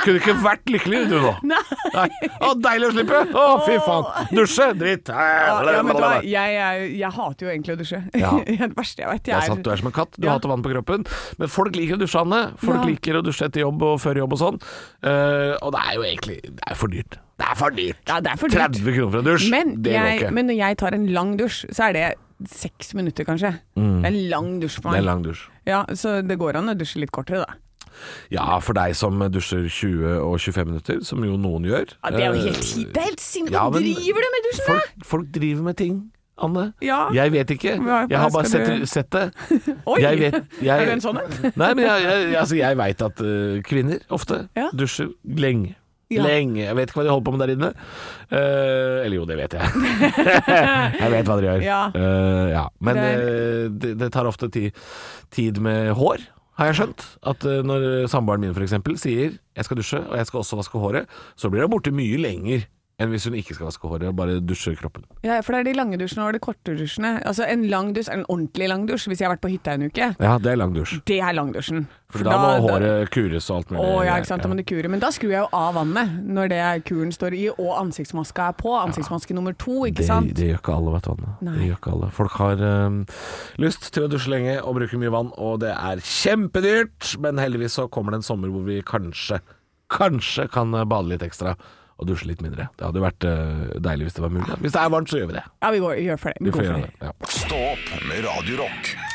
Speaker 3: Kunne ikke vært lykkeligere du nå.
Speaker 4: Nei.
Speaker 3: Nei. Å, deilig å slippe! Å, fy faen. Dusje, dritt.
Speaker 4: Ja, ja, men vet du hva? jeg, jeg, jeg hater jo egentlig å dusje.
Speaker 3: Ja.
Speaker 4: Det er det verste jeg vet.
Speaker 3: Det er
Speaker 4: Jeg
Speaker 3: sant, du er som en katt. Du
Speaker 4: Ja.
Speaker 3: hater vann på kroppen. Men folk liker å dusje, Anne. Folk
Speaker 4: Ja.
Speaker 3: liker å dusje etter jobb og før jobb og sånn. Eh, og det er jo egentlig Det er for dyrt. Det er for dyrt.
Speaker 4: Ja, det er for dyrt.
Speaker 3: 30 kroner for en dusj,
Speaker 4: Men,
Speaker 3: det
Speaker 4: jeg,
Speaker 3: går ikke.
Speaker 4: men når jeg tar en lang dusj, så er det seks minutter, kanskje. Det er en lang dusj for
Speaker 3: Mm. det er
Speaker 4: meg.
Speaker 3: lang dusj.
Speaker 4: Ja, så det går an å dusje litt kortere, da.
Speaker 3: Ja, for deg som dusjer 20 og 25 minutter, som jo noen gjør.
Speaker 4: Ja, det er jo helt,
Speaker 3: Eh,
Speaker 4: hi- det er helt sinnssykt!
Speaker 3: ja,
Speaker 4: Hva
Speaker 3: men
Speaker 4: driver du med dusjen, da?
Speaker 3: Folk, folk driver med ting, Anne.
Speaker 4: Ja.
Speaker 3: Jeg vet ikke.
Speaker 4: Hva-
Speaker 3: Jeg har
Speaker 4: hva
Speaker 3: bare
Speaker 4: skal
Speaker 3: sett,
Speaker 4: du-
Speaker 3: sett det.
Speaker 4: Oi!
Speaker 3: Jeg vet, jeg,
Speaker 4: Er du en sånn en?
Speaker 3: Nei, men jeg, jeg, altså, jeg veit at eh, kvinner ofte
Speaker 4: Ja.
Speaker 3: dusjer lenge.
Speaker 4: Ja.
Speaker 3: Lenge. Jeg vet ikke hva de holder på med der inne. Eh, eller jo, det vet jeg. jeg vet hva dere gjør.
Speaker 4: Ja.
Speaker 3: Eh, ja. Men
Speaker 4: Det
Speaker 3: eh, det, det tar ofte tid, tid med hår, har jeg skjønt. At eh, når samboeren min f.eks. sier 'jeg skal dusje, og jeg skal også vaske håret', så blir hun borte mye lenger enn hvis hun ikke skal vaske håret og bare dusjer kroppen.
Speaker 4: Ja, for det er de lange dusjene og de korte dusjene. Altså, en lang dusj er en ordentlig lang dusj, hvis jeg har vært på hytta en uke.
Speaker 3: Ja, det er lang dusj.
Speaker 4: Det er langdusjen.
Speaker 3: For da, må håret kures og alt mulig.
Speaker 4: Å ja, ikke sant. Da må du kure. Men da skrur jeg jo av vannet når det kuren står i og ansiktsmaska er på. Ansiktsmaske nummer to, ikke sant.
Speaker 3: Det, det gjør ikke alle, vet du. Anne. Det
Speaker 4: Nei.
Speaker 3: gjør ikke alle. Folk har øhm, lyst til å dusje lenge og bruke mye vann, og det er kjempedyrt. Men heldigvis så kommer det en sommer hvor vi kanskje, kanskje kan eh, bade litt ekstra og dusje litt mindre. Det hadde jo vært øh, deilig hvis det var mulig. Hvis det er varmt, så gjør vi det.
Speaker 4: Ja, vi går, gjør for det. Vi
Speaker 3: Vi
Speaker 4: går
Speaker 3: får
Speaker 4: for
Speaker 3: gjøre
Speaker 4: det.
Speaker 3: det. Ja.
Speaker 2: Stå opp med Radio Rock.